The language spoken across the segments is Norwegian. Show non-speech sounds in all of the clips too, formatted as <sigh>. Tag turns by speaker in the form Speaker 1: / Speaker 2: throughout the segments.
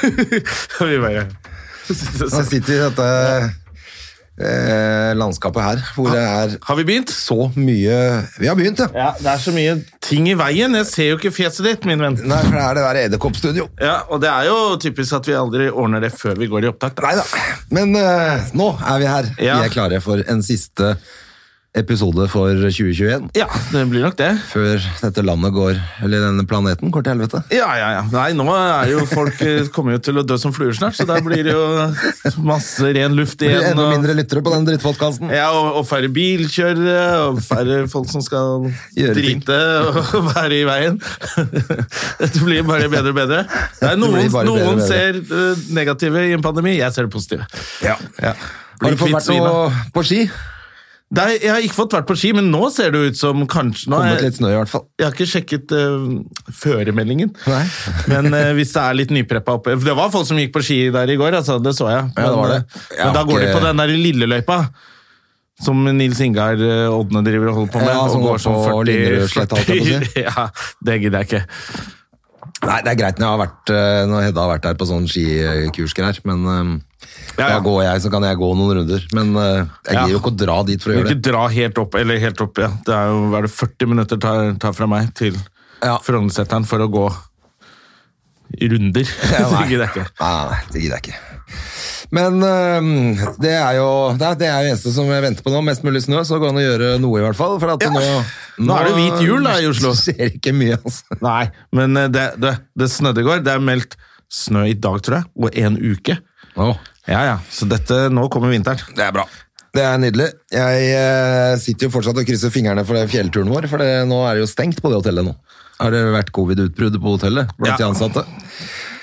Speaker 1: <laughs> Vi bare
Speaker 2: Man sitter i dette eh, landskapet her, hvor det er
Speaker 1: Har vi begynt?
Speaker 2: så mye Vi har begynt, ja.
Speaker 1: Ja, det er så mye ting i veien. Jeg ser jo ikke fjeset ditt, min venn.
Speaker 2: Nei, for det er det der edderkoppstudio.
Speaker 1: Ja, Og det er jo typisk at vi aldri ordner det før vi går i opptak.
Speaker 2: Nei da. Men eh, nå er vi her.
Speaker 1: Ja.
Speaker 2: Vi er klare for en siste episode for 2021.
Speaker 1: Ja, det blir nok det.
Speaker 2: Før dette landet går, eller denne planeten går til helvete.
Speaker 1: Ja, ja, ja. Nei, nå er jo folk eh, kommer jo til å dø som fluer snart, så der blir det jo masse ren luft
Speaker 2: Det blir
Speaker 1: igjen.
Speaker 2: enda
Speaker 1: og-
Speaker 2: mindre lyttere på den drittpodkasten.
Speaker 1: Ja, og, og færre bilkjørere, og færre folk som skal
Speaker 2: Gjøre ting.
Speaker 1: drite og være i veien. Det blir bare bedre og bedre. Nei,
Speaker 2: Det
Speaker 1: noen
Speaker 2: blir bare bedre og
Speaker 1: noen
Speaker 2: bedre.
Speaker 1: ser eh, negative i en pandemi, jeg ser det positive.
Speaker 2: Ja.
Speaker 1: Ja.
Speaker 2: Har
Speaker 1: Blir
Speaker 2: du fått
Speaker 1: kvitt
Speaker 2: vært
Speaker 1: svinet.
Speaker 2: noe på ski?
Speaker 1: Nei, jeg har ikke fått vært på ski, men nå ser det ut som kanskje nå er-
Speaker 2: Kommet litt snø, i hvert fall.
Speaker 1: Jeg har ikke sjekket eh, føremeldingen,
Speaker 2: Nei.
Speaker 1: <laughs> men eh, hvis det er litt nypreppa oppe Det var folk som gikk på ski der i går, altså, det så jeg. Men,
Speaker 2: Ja, det var det.
Speaker 1: eh,
Speaker 2: Jeg
Speaker 1: men da
Speaker 2: har
Speaker 1: går de
Speaker 2: ikke-
Speaker 1: på den der lille løypa som Nils Ingar eh, Odne driver og holder på med.
Speaker 2: Ja, som
Speaker 1: og
Speaker 2: går på Linderødsletta, holdt jeg på å
Speaker 1: 40 <laughs> Ja, det gidder jeg ikke.
Speaker 2: Nei, det er greit når, jeg har vært, eh, når Hedda har vært der på sånn skikursgreier, men eh,
Speaker 1: Ja, ja.
Speaker 2: da går jeg, så kan jeg gå noen runder. Men eh, jeg
Speaker 1: Ja.
Speaker 2: gir jo ikke å dra dit for
Speaker 1: Du
Speaker 2: å
Speaker 1: kan
Speaker 2: gjøre det.
Speaker 1: ikke dra helt opp, eller helt opp, ja. Det er jo hva er det 40 minutter tar, tar fra meg til
Speaker 2: Ja.
Speaker 1: Frognerseteren for å gå runder. <laughs> det gidder jeg ikke.
Speaker 2: Nei, nei, nei, det gidder jeg ikke. Men eh, det er jo det, er, det er jo eneste som jeg venter på nå. Mest mulig snø, så går det an å gjøre noe i hvert fall. For at nå,
Speaker 1: Nå er det hvit jul da i Oslo.
Speaker 2: <laughs> Skjer ikke mye, altså.
Speaker 1: Nei, men eh, det, det, det snødde i går. Det er meldt snø i dag, tror jeg, og en uke. Ja, ja, så dette, nå kommer vinteren.
Speaker 2: Det er bra. Det er nydelig. Jeg eh, sitter jo fortsatt og krysser fingrene for den fjellturen vår, for det, nå er det jo stengt på det hotellet nå. Har det vært covid-utbrudd på hotellet blant
Speaker 1: Ja.
Speaker 2: de ansatte?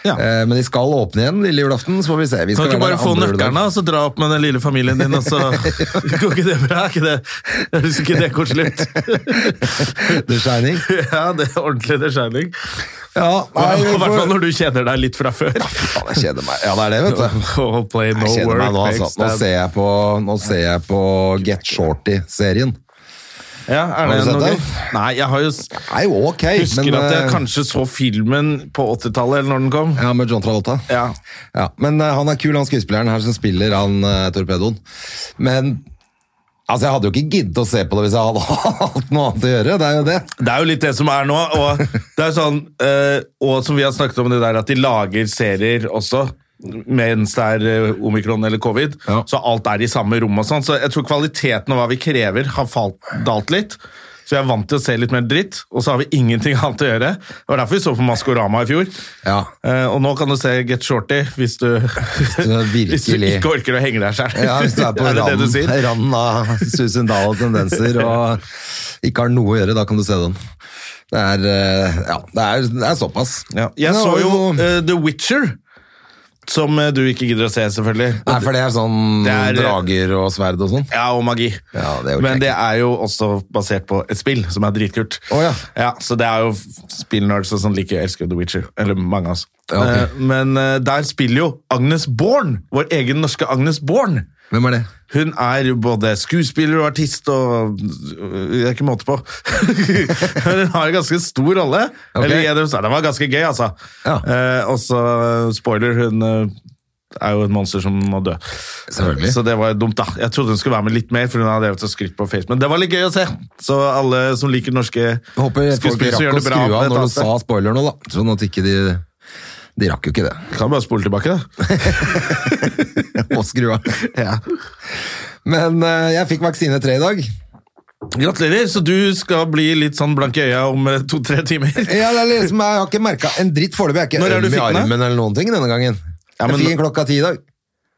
Speaker 1: Ja.
Speaker 2: Eh, men de skal åpne igjen lille julaften, så får vi se. Vi
Speaker 1: Kan
Speaker 2: skal være
Speaker 1: ikke bare
Speaker 2: der
Speaker 1: få
Speaker 2: andre juledag.
Speaker 1: nøkkerne og så dra opp med den lille familien din, og så Går ikke det bra? Er ikke det, høres ikke det
Speaker 2: <laughs>
Speaker 1: koselig ut?
Speaker 2: <laughs> The <laughs> Shining.
Speaker 1: Ja, det er ordentlig det er shining.
Speaker 2: Ja, nei,
Speaker 1: I
Speaker 2: vi
Speaker 1: hvert fall
Speaker 2: får...
Speaker 1: når du kjenner deg litt fra før.
Speaker 2: Faen, jeg kjeder meg. Ja, det er det,
Speaker 1: <laughs>
Speaker 2: vet du.
Speaker 1: Oh, play no
Speaker 2: Jeg kjeder
Speaker 1: work,
Speaker 2: meg nå, altså.
Speaker 1: next
Speaker 2: Nå
Speaker 1: time.
Speaker 2: ser jeg på, nå ser jeg på Get Shorty-serien.
Speaker 1: Ja, er
Speaker 2: Har
Speaker 1: det
Speaker 2: du sett
Speaker 1: noe
Speaker 2: den?
Speaker 1: gøy? Nei, jeg har jo s-
Speaker 2: Det er jo ok,
Speaker 1: husker
Speaker 2: men
Speaker 1: at jeg
Speaker 2: eh,
Speaker 1: kanskje så filmen på 80-tallet, eller når den kom.
Speaker 2: Ja, med John Travolta.
Speaker 1: Ja.
Speaker 2: Ja, men eh, han er kul, han skuespilleren her som spiller han eh, torpedoen. Men altså, jeg hadde jo ikke giddet å se på det hvis jeg hadde <laughs> hatt noe annet å gjøre. Det er jo det.
Speaker 1: Det er jo litt det som er nå, og det er sånn eh, Og som vi har snakket om det der at de lager serier også mens det er eh, omikron eller covid,
Speaker 2: Ja.
Speaker 1: så alt er i samme rom og sånn. Så jeg tror kvaliteten og hva vi krever, har falt, dalt litt. Så jeg er vant til å se litt mer dritt, og så har vi ingenting annet å gjøre. Det var derfor vi så på Maskorama i fjor.
Speaker 2: Ja.
Speaker 1: Eh, og nå kan du se Get Shorty hvis du,
Speaker 2: virkelig-
Speaker 1: <laughs> hvis du ikke orker å henge deg sjæl.
Speaker 2: Ja, hvis du
Speaker 1: <laughs>
Speaker 2: er på
Speaker 1: det det du
Speaker 2: randen,
Speaker 1: sier?
Speaker 2: randen av Susendal-tendenser og ikke har noe å gjøre, da kan du se den. Det er, eh, ja, det er, det er såpass.
Speaker 1: Ja. Jeg
Speaker 2: Men det
Speaker 1: så
Speaker 2: var
Speaker 1: jo eh, The Witcher, som eh, du ikke gidder å se, selvfølgelig.
Speaker 2: Nei, for det er sånn
Speaker 1: Det er-
Speaker 2: drager og sverd og sånn.
Speaker 1: Ja, og magi.
Speaker 2: Ja, det orker jeg
Speaker 1: Men det
Speaker 2: ikke.
Speaker 1: er jo også basert på et spill som er dritkult.
Speaker 2: Å, ja.
Speaker 1: så det er jo spillnerds og sånn like elsker The Witcher. Eller mange av oss.
Speaker 2: Ja, ok.
Speaker 1: Eh, Men eh, der spiller jo Agnes Born, vår egen norske Agnes Born.
Speaker 2: Hvem er det?
Speaker 1: Hun er jo både skuespiller og artist og Det er ikke måte på. <laughs> Men hun har en ganske stor rolle.
Speaker 2: Ok.
Speaker 1: Eller ja, det- Det var ganske gøy, altså.
Speaker 2: Ja.
Speaker 1: Eh, og så eh, spoiler, hun eh, er jo et monster som må dø.
Speaker 2: Selvfølgelig.
Speaker 1: Så det var dumt, da. Jeg trodde hun skulle være med litt mer, for hun har drevet og skrytt på Facebook. Men det var litt gøy å se. Så alle som liker norske
Speaker 2: Håper folk
Speaker 1: skuespillere,
Speaker 2: rakk å
Speaker 1: så gjør det
Speaker 2: skru
Speaker 1: bra.
Speaker 2: av
Speaker 1: med et
Speaker 2: når du
Speaker 1: annet sted.
Speaker 2: sa spoiler nå, da. Sånn at ikke de De rakk jo ikke det.
Speaker 1: Kan bare spole tilbake, da.
Speaker 2: og skru av. Men eh, jeg fikk vaksine tre i dag.
Speaker 1: Gratulerer, så du skal bli litt sånn blank i øya om eh, to-tre timer.
Speaker 2: <laughs> Ja, det er liksom, jeg har ikke merka en dritt foreløpig. Jeg
Speaker 1: Når
Speaker 2: er ikke øm
Speaker 1: er det du
Speaker 2: i
Speaker 1: fikk den, da?
Speaker 2: armen eller noen ting denne gangen.
Speaker 1: Ja, men-
Speaker 2: jeg fikk den klokka ti i dag.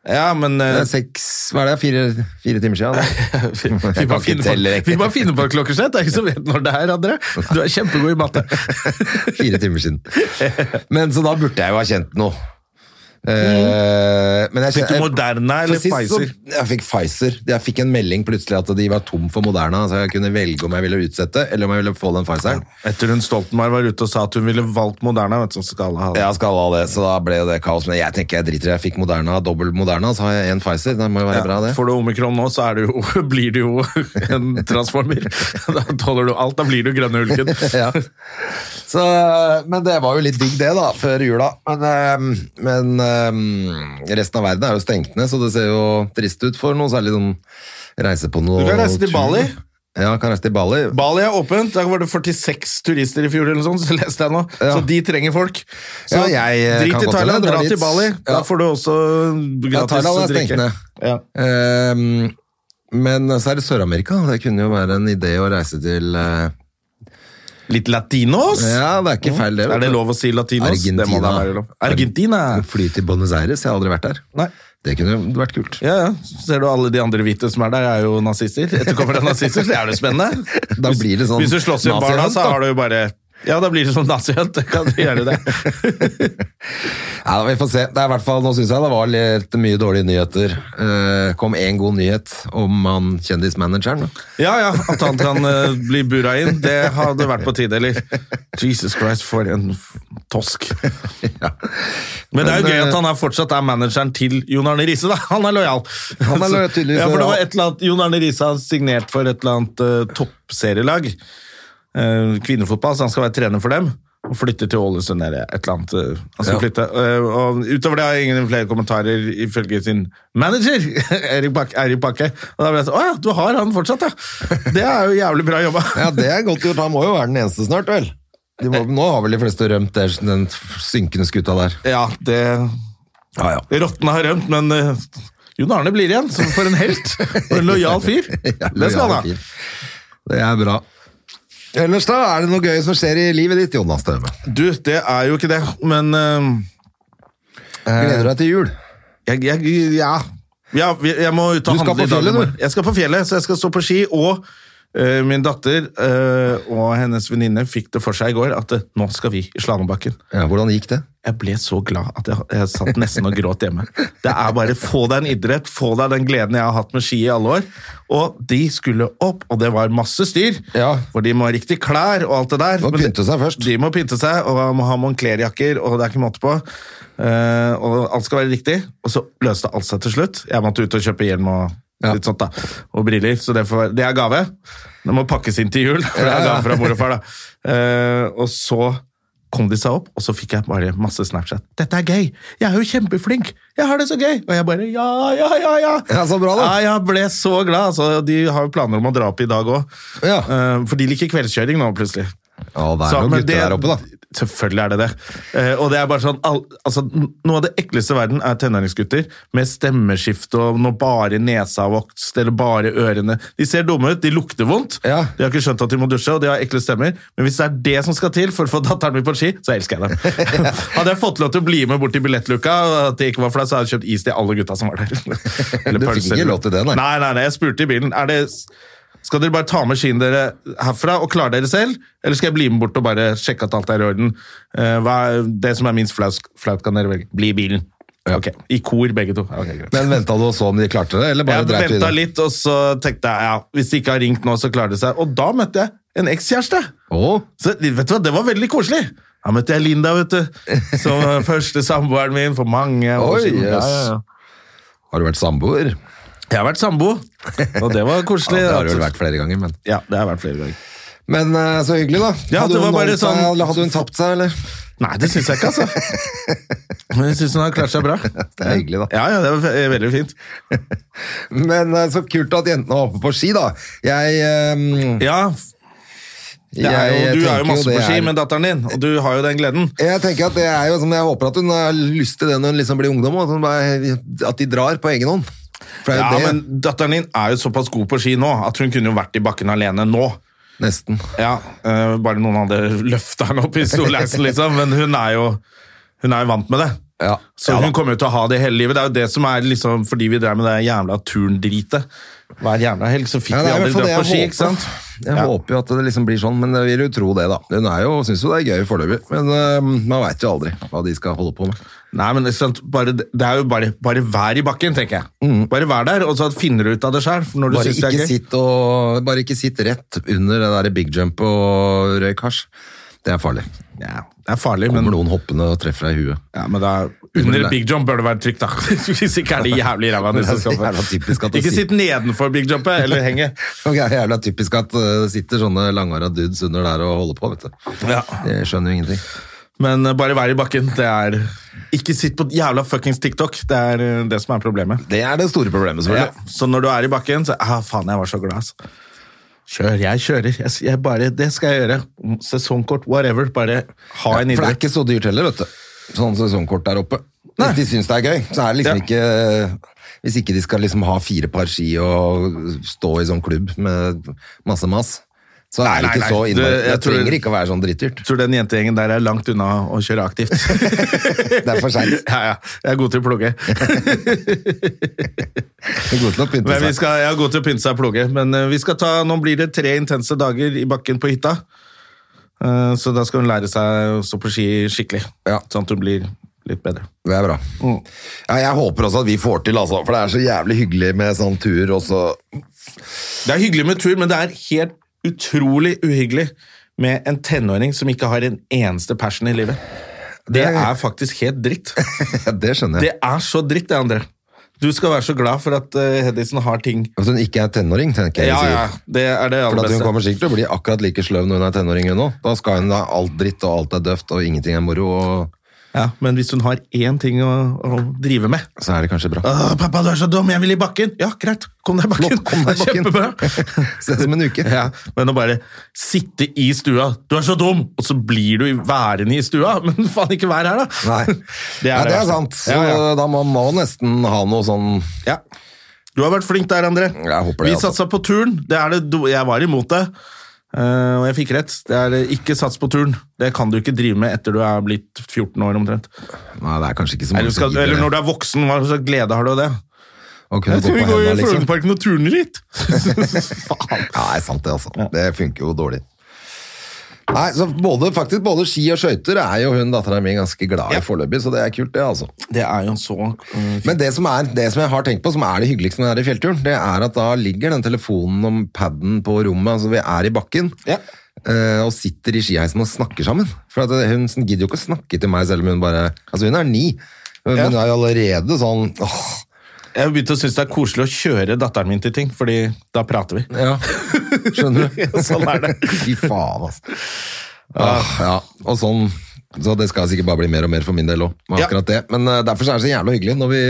Speaker 1: Ja, men
Speaker 2: Det
Speaker 1: eh,
Speaker 2: er seks, hva er det, fire, fire timer
Speaker 1: <laughs>
Speaker 2: siden? da.
Speaker 1: Vi vi
Speaker 2: Jeg
Speaker 1: bare
Speaker 2: kan ikke
Speaker 1: finner
Speaker 2: telle
Speaker 1: på,
Speaker 2: riktig.
Speaker 1: vi bare finner på et klokkeslett. Det er ingen som vet når det er, André. Du
Speaker 2: <laughs>
Speaker 1: er kjempegod i matte.
Speaker 2: fire timer siden. Men så da burde jeg jo ha kjent noe. Eh, men jeg,
Speaker 1: Mm. Fikk du
Speaker 2: jeg-
Speaker 1: Moderna
Speaker 2: for
Speaker 1: eller
Speaker 2: sist så-
Speaker 1: Pfizer?
Speaker 2: jeg fikk Pfizer. Jeg fikk en melding plutselig at de var tom for Moderna, så jeg kunne velge om jeg ville utsette, eller om jeg ville få den Pfizeren.
Speaker 1: Etter hun Stoltenberg var ute og sa at hun ville valgt Moderna, vet du, så skal alle ha det.
Speaker 2: Jeg skal ha det, så da ble det kaos. Men jeg tenker jeg driter i det. Jeg fikk Moderna, dobbelt Moderna, så har jeg en Pfizer. Det må jo være
Speaker 1: Ja,
Speaker 2: bra, det.
Speaker 1: Får du omikron nå, så er du jo, <laughs> blir du jo en transformer. <laughs> Da tåler du alt. Da blir du grønne hulken.
Speaker 2: <laughs> <laughs> ja. så, eh, men det var jo litt digg det da, før jula. Men, ehm, men ehm, resten av verden er jo stengt ned, så det ser jo trist ut for noe særlig sånn reise på noe
Speaker 1: Du kan reise til
Speaker 2: tur.
Speaker 1: Bali.
Speaker 2: Ja, kan reise til Bali.
Speaker 1: Bali er åpent. Der var det 46 turister i fjor, eller sånn, så leste jeg nå.
Speaker 2: Ja.
Speaker 1: Så de trenger folk. Så
Speaker 2: Ja, jeg, eh, kan
Speaker 1: drit i
Speaker 2: godt
Speaker 1: Thailand,
Speaker 2: hende dra
Speaker 1: dra
Speaker 2: dit.
Speaker 1: til Bali.
Speaker 2: Ja.
Speaker 1: Da får du også
Speaker 2: Ja,
Speaker 1: gratis
Speaker 2: Thailand
Speaker 1: å
Speaker 2: er stengt
Speaker 1: drikke.
Speaker 2: ned.
Speaker 1: Ja.
Speaker 2: Ehm, men så er det Sør-Amerika. Det kunne jo være en idé å reise til eh,
Speaker 1: Litt latinos?
Speaker 2: Ja, det er ikke feil, det. vet
Speaker 1: Er det
Speaker 2: du.
Speaker 1: lov å si latinos?
Speaker 2: Argentina.
Speaker 1: Det må da være lov. Argentina!
Speaker 2: Fly til Buenos Aires. Jeg har aldri vært der.
Speaker 1: Nei.
Speaker 2: Det kunne jo vært kult.
Speaker 1: Ja, ja. Ser du alle de andre hvite som er der, er jo nazister. Etterkommere av nazister, så er det spennende.
Speaker 2: <laughs> Da blir det sånn
Speaker 1: Hvis du slåss i en bar da,
Speaker 2: nazihunt,
Speaker 1: så
Speaker 2: da.
Speaker 1: har du jo bare Ja, da blir det sånn nazihunt. <laughs> Da Kan du gjøre det?
Speaker 2: Ja, vi får se. Det er i hvert fall, nå synes jeg det var litt mye dårlige nyheter. Eh, kom en god nyhet om han kjendismanageren. da.
Speaker 1: Ja ja, at han kan eh, bli bura inn, det hadde vært på tide, eller? Jesus Christ, for en f- tosk.
Speaker 2: <laughs> Ja.
Speaker 1: Men det er jo
Speaker 2: Men,
Speaker 1: gøy
Speaker 2: eh,
Speaker 1: at han er fortsatt er manageren til Jon Arne Riise, da. Han er lojal.
Speaker 2: Han er lojal,
Speaker 1: Så-
Speaker 2: tydeligvis,
Speaker 1: Ja, for det var
Speaker 2: ja.
Speaker 1: et eller annet Jon Arne Riise har signert for et eller annet eh, toppserielag. eh, kvinnefotball, så han skal være trener for dem. Og flytter til Ålesund eller et eller annet. eh, han skal
Speaker 2: Ja.
Speaker 1: flytte. Eh, og utover det har jeg ingen flere kommentarer ifølge sin manager, <laughs> Erik Bakke. Erik Bakke. Og da ble jeg sånn Å ja, du har han fortsatt, ja! Det er jo jævlig bra jobba.
Speaker 2: <laughs> Ja, det er godt gjort. Han må jo være den eneste snart, vel? De må, Eh, nå har vel de fleste rømt der, den synkende skuta der.
Speaker 1: Ja, det
Speaker 2: Ja, ja.
Speaker 1: Rottene har rømt, men eh, Jon Arne blir igjen. Som for en helt! For en lojal
Speaker 2: <laughs>
Speaker 1: fyr. Det skal han ha.
Speaker 2: Det er bra. Ellers da, er det noe gøy som skjer i livet ditt, Jonas Støme?
Speaker 1: Du, det er jo ikke det, men eh,
Speaker 2: Gleder du deg til jul?
Speaker 1: Jeg, jeg, ja. ja vi- jeg må ut og
Speaker 2: Du skal
Speaker 1: handle
Speaker 2: på fjellet,
Speaker 1: i dag.
Speaker 2: du.
Speaker 1: Jeg skal på fjellet, så jeg skal stå på ski. Og eh, min datter eh, og hennes venninne fikk det for seg i går at eh, nå skal vi i slalåmbakken.
Speaker 2: Ja, hvordan gikk det?
Speaker 1: Jeg ble så glad at jeg, jeg satt nesten og gråt hjemme. Det er bare få deg en idrett, få deg den gleden jeg har hatt med ski i alle år. Og de skulle opp, og det var masse styr.
Speaker 2: Ja.
Speaker 1: For de må ha riktig klær og alt det der.
Speaker 2: Må
Speaker 1: Men det-
Speaker 2: pynte seg først.
Speaker 1: De må pynte seg, og må ha Moncler-jakker, og det er ikke måte på. Eh, og alt skal være riktig. Og så løste alt seg til slutt. Jeg måtte ut og kjøpe hjelm og
Speaker 2: Ja.
Speaker 1: litt sånt da, og briller, så det, får, være- det er gave. Det må pakkes inn til jul, <laughs> for det er gave fra mor og far. da. Eh, og så kom de seg opp, og så fikk jeg bare masse Snapchat. 'Dette er gøy! Jeg er jo kjempeflink! Jeg har det så gøy!' Og jeg bare ja, ja, ja, ja.
Speaker 2: Ja, så bra da.
Speaker 1: Ja, jeg ble så glad. Altså, de har jo planer om å dra opp i dag òg.
Speaker 2: Ja.
Speaker 1: for de liker kveldskjøring nå, plutselig.
Speaker 2: Ja, det er
Speaker 1: Så,
Speaker 2: noen
Speaker 1: men
Speaker 2: gutter der oppe, da.
Speaker 1: Selvfølgelig er det det. Eh, og det er bare sånn, all, altså, n- Noe av det ekleste i verden er tenåringsgutter med stemmeskifte og når bare nesa har vokst, eller bare ørene. De ser dumme ut, de lukter vondt,
Speaker 2: Ja.
Speaker 1: de har ikke skjønt at de må dusje, og de har ekle stemmer. Men hvis det er det som skal til for å få datteren min på ski, så elsker jeg dem.
Speaker 2: <laughs>
Speaker 1: Hadde jeg fått lov til å bli med bort til billettluka, og at det ikke var flaut, så hadde jeg kjøpt is til alle gutta som var der.
Speaker 2: Du
Speaker 1: Eller
Speaker 2: fikk
Speaker 1: pølser.
Speaker 2: ikke lov til det, nei.
Speaker 1: Nei, nei, nei, jeg spurte i bilen. Er det... Skal dere bare ta med skiene dere herfra og klare dere selv, eller skal jeg bli med bort og bare sjekke at alt er i orden? Eh, hva er det som er minst flaut, flaut kan dere velge. Bli i bilen. Ok, I kor, begge to. Ja, ok, greit.
Speaker 2: Men venta du og så om de klarte det, eller bare
Speaker 1: Jeg
Speaker 2: dreit du i
Speaker 1: venta
Speaker 2: det?
Speaker 1: litt, og så tenkte jeg ja, hvis de ikke har ringt nå, så klarer de seg. Og da møtte jeg en ekskjæreste!
Speaker 2: Å?
Speaker 1: Så vet du hva, det var veldig koselig! Da møtte jeg Linda, vet du. Som
Speaker 2: <laughs>
Speaker 1: var første samboeren min for mange år
Speaker 2: Oi,
Speaker 1: siden. Ja, ja, ja.
Speaker 2: Har du vært samboer?
Speaker 1: Jeg har vært sambo, og det var
Speaker 2: Ja,
Speaker 1: koselig. Altså,
Speaker 2: det har du vel vært flere ganger, men
Speaker 1: Ja, det har jeg vært flere ganger.
Speaker 2: Men eh, så hyggelig, da.
Speaker 1: Ja,
Speaker 2: hadde,
Speaker 1: det
Speaker 2: hun
Speaker 1: var bare
Speaker 2: holdt seg,
Speaker 1: sånn-
Speaker 2: eller hadde hun tapt seg, eller?
Speaker 1: Nei, det syns jeg ikke, <laughs> altså. Men jeg syns hun har klart seg bra.
Speaker 2: Det er hyggelig, da.
Speaker 1: Ja, ja, det var ve- veldig fint.
Speaker 2: Men eh, så kult at jentene var oppe på ski, da. Jeg, eh,
Speaker 1: Ja, det er jo,
Speaker 2: jeg
Speaker 1: du er
Speaker 2: tenker
Speaker 1: jo masse
Speaker 2: det
Speaker 1: på ski
Speaker 2: er-
Speaker 1: med datteren din, og du har jo den gleden.
Speaker 2: Jeg tenker at det er jo som jeg håper at hun har lyst til det når hun liksom blir ungdom, og at, hun bare, at de drar på egen hånd. For det er
Speaker 1: Ja,
Speaker 2: jo det,
Speaker 1: men datteren din er jo såpass god på ski nå at hun kunne jo vært i bakken alene nå.
Speaker 2: nesten.
Speaker 1: Ja, eh, Bare noen hadde løfta henne opp i storleisen, liksom. Men hun er jo hun er jo vant med det.
Speaker 2: Ja.
Speaker 1: Så
Speaker 2: Ja da.
Speaker 1: hun kommer jo til å ha det hele livet. Det er jo det som er liksom, fordi vi drev med det jævla turndritet. Hver jævla helg så fikk
Speaker 2: Ja,
Speaker 1: vi
Speaker 2: det er i hvert
Speaker 1: aldri
Speaker 2: fall det
Speaker 1: dratt på ski,
Speaker 2: jeg
Speaker 1: ikke sant?
Speaker 2: håper. Jeg
Speaker 1: Ja.
Speaker 2: håper jo at det liksom blir sånn, men jeg vil jo tro det, da. Hun er jo, syns jo det er gøy foreløpig, men eh, man veit jo aldri hva de skal holde på med.
Speaker 1: Nei, men det er sant, bare, det er jo bare, bare vær i bakken, tenker jeg. Bare vær der, og så finner du ut av det sjøl.
Speaker 2: Mm. Bare ikke, sitt og, bare ikke sitt rett under det der big jump og røyk hasj. Det er farlig.
Speaker 1: Ja, det er farlig,
Speaker 2: Kommer
Speaker 1: men,
Speaker 2: noen hoppende og treffer deg i huet.
Speaker 1: ja, men da, under big jump bør det være trygt, da. <laughs> Hvis ikke er det jævlig ræva.
Speaker 2: Men det er så
Speaker 1: selskapet.
Speaker 2: jævla typisk at det
Speaker 1: Ikke
Speaker 2: sier-
Speaker 1: sitt nedenfor big jumpet, eller henge.
Speaker 2: Og Det er jævla typisk at eh, det sitter sånne langhåra dudes under der og holder på, vet du.
Speaker 1: <laughs> Ja.
Speaker 2: De skjønner jo ingenting.
Speaker 1: Men eh, bare vær i bakken. Det er Ikke sitt på jævla fuckings TikTok. Det er eh, det som er problemet.
Speaker 2: Det er det store problemet,
Speaker 1: Ja.
Speaker 2: selvfølgelig.
Speaker 1: Så når du er i bakken, så ah, Faen, jeg var så glad, altså. Kjør. Jeg kjører. Jeg, jeg bare, det skal jeg gjøre. Mm, Sesongkort, whatever. Bare ha
Speaker 2: For
Speaker 1: en
Speaker 2: det er
Speaker 1: idrett.
Speaker 2: ikke så dyrt heller, vet du. Sånn sesongkort der oppe. Hvis de syns det er gøy, så er det liksom ikke Hvis ikke de skal liksom ha fire par ski og stå i sånn klubb med masse mas, så er det
Speaker 1: Nei,
Speaker 2: ikke
Speaker 1: nei,
Speaker 2: så
Speaker 1: nei.
Speaker 2: innmari
Speaker 1: Det-
Speaker 2: Det
Speaker 1: jeg tror-
Speaker 2: trenger ikke å være sånn
Speaker 1: <laughs>
Speaker 2: drittdyrt.
Speaker 1: Tror den jentegjengen der er langt unna å kjøre <laughs> aktivt.
Speaker 2: Det er for seint.
Speaker 1: <laughs> ja, ja. Jeg er god til å <laughs> plugge.
Speaker 2: Det er godt til å pynte
Speaker 1: Men vi
Speaker 2: seg.
Speaker 1: skal, jeg er god til å pynte seg og plugge. Men eh, vi skal ta, nå blir det tre intense dager i bakken på hytta. Eh, Så da skal hun lære seg å stå på ski skikkelig.
Speaker 2: Ja.
Speaker 1: Sånn at hun blir litt bedre.
Speaker 2: Det er bra.
Speaker 1: Mm.
Speaker 2: Ja, jeg håper også at vi får til, altså. For det er så jævlig hyggelig med sånn tur også. <laughs>
Speaker 1: Det er hyggelig med tur, men det er helt utrolig uhyggelig med en tenåring som ikke har en eneste passion i livet. Det er faktisk helt dritt.
Speaker 2: det skjønner
Speaker 1: Det
Speaker 2: jeg.
Speaker 1: er så dritt, det, André. Du skal være så glad for at eh, Hedison har ting.
Speaker 2: At hun ikke er tenåring, tenker jeg.
Speaker 1: Ja,
Speaker 2: vi
Speaker 1: ja,
Speaker 2: sier.
Speaker 1: det er det
Speaker 2: For
Speaker 1: aller
Speaker 2: at hun
Speaker 1: beste.
Speaker 2: kommer sikkert til å bli akkurat like sløv når hun er tenåring hun òg. Da skal hun ha alt dritt, og alt er døvt, og ingenting er moro, og
Speaker 1: Ja, men hvis hun har én ting å, å drive med
Speaker 2: så er det kanskje bra.
Speaker 1: Åh, 'Pappa, du er så dum! Jeg vil i bakken!' Ja, greit. Kom deg i <laughs> bakken.
Speaker 2: Flott, kom deg i bakken.
Speaker 1: Kjempebra.
Speaker 2: <laughs> Ses om en uke.
Speaker 1: Ja, men å bare sitte i stua 'Du er så dum!' Og så blir du værende i stua. <laughs> Men faen, ikke vær her, da!
Speaker 2: Nei, det
Speaker 1: Det er
Speaker 2: er,
Speaker 1: det
Speaker 2: det er
Speaker 1: verste.
Speaker 2: sant. Så
Speaker 1: Ja, ja.
Speaker 2: da må man nesten ha noe sånn
Speaker 1: Ja. Du har vært flink der, André.
Speaker 2: Jeg håper det,
Speaker 1: Vi
Speaker 2: altså.
Speaker 1: satsa på turn. Det er det, do- jeg var imot det, eh, og jeg fikk rett. Det er eh, Ikke sats på turn. Det kan du ikke drive med etter du er blitt 14 år, omtrent.
Speaker 2: Nei, det er kanskje ikke så
Speaker 1: Eller,
Speaker 2: mange
Speaker 1: skal, eller når du er voksen, hva slags glede har du av det?
Speaker 2: å kunne
Speaker 1: Jeg
Speaker 2: gå
Speaker 1: tror
Speaker 2: på
Speaker 1: vi går i
Speaker 2: hendene, liksom.
Speaker 1: Frognerparken og turner
Speaker 2: <laughs>
Speaker 1: litt! Faen.
Speaker 2: Ja, det er sant det, altså. Det funker jo dårlig. Nei, så både, faktisk, både ski og skøyter er jo hun dattera mi ganske glad i foreløpig, så det er kult, det, altså.
Speaker 1: Det er jo så mm,
Speaker 2: Men det som, er, det som jeg har tenkt på, som er det hyggeligste med den her fjellturen, det er at da ligger den telefonen om paden på rommet, altså vi er i bakken,
Speaker 1: Ja.
Speaker 2: eh, og sitter i skiheisen og snakker sammen. For at eh, hun gidder jo ikke å snakke til meg, selv om hun bare Altså, hun er ni, men
Speaker 1: Ja.
Speaker 2: hun er jo allerede sånn åh,
Speaker 1: Jeg har begynt å synes det er koselig å kjøre datteren min til ting, Fordi da prater vi.
Speaker 2: Ja, skjønner
Speaker 1: <laughs>
Speaker 2: du?
Speaker 1: Sånn er det.
Speaker 2: Fy faen, altså. Ah, ja, og sånn, så det skal sikkert bare bli mer og mer for min del også, med
Speaker 1: Ja.
Speaker 2: akkurat det. Men eh, derfor så er det så jævla hyggelig når vi,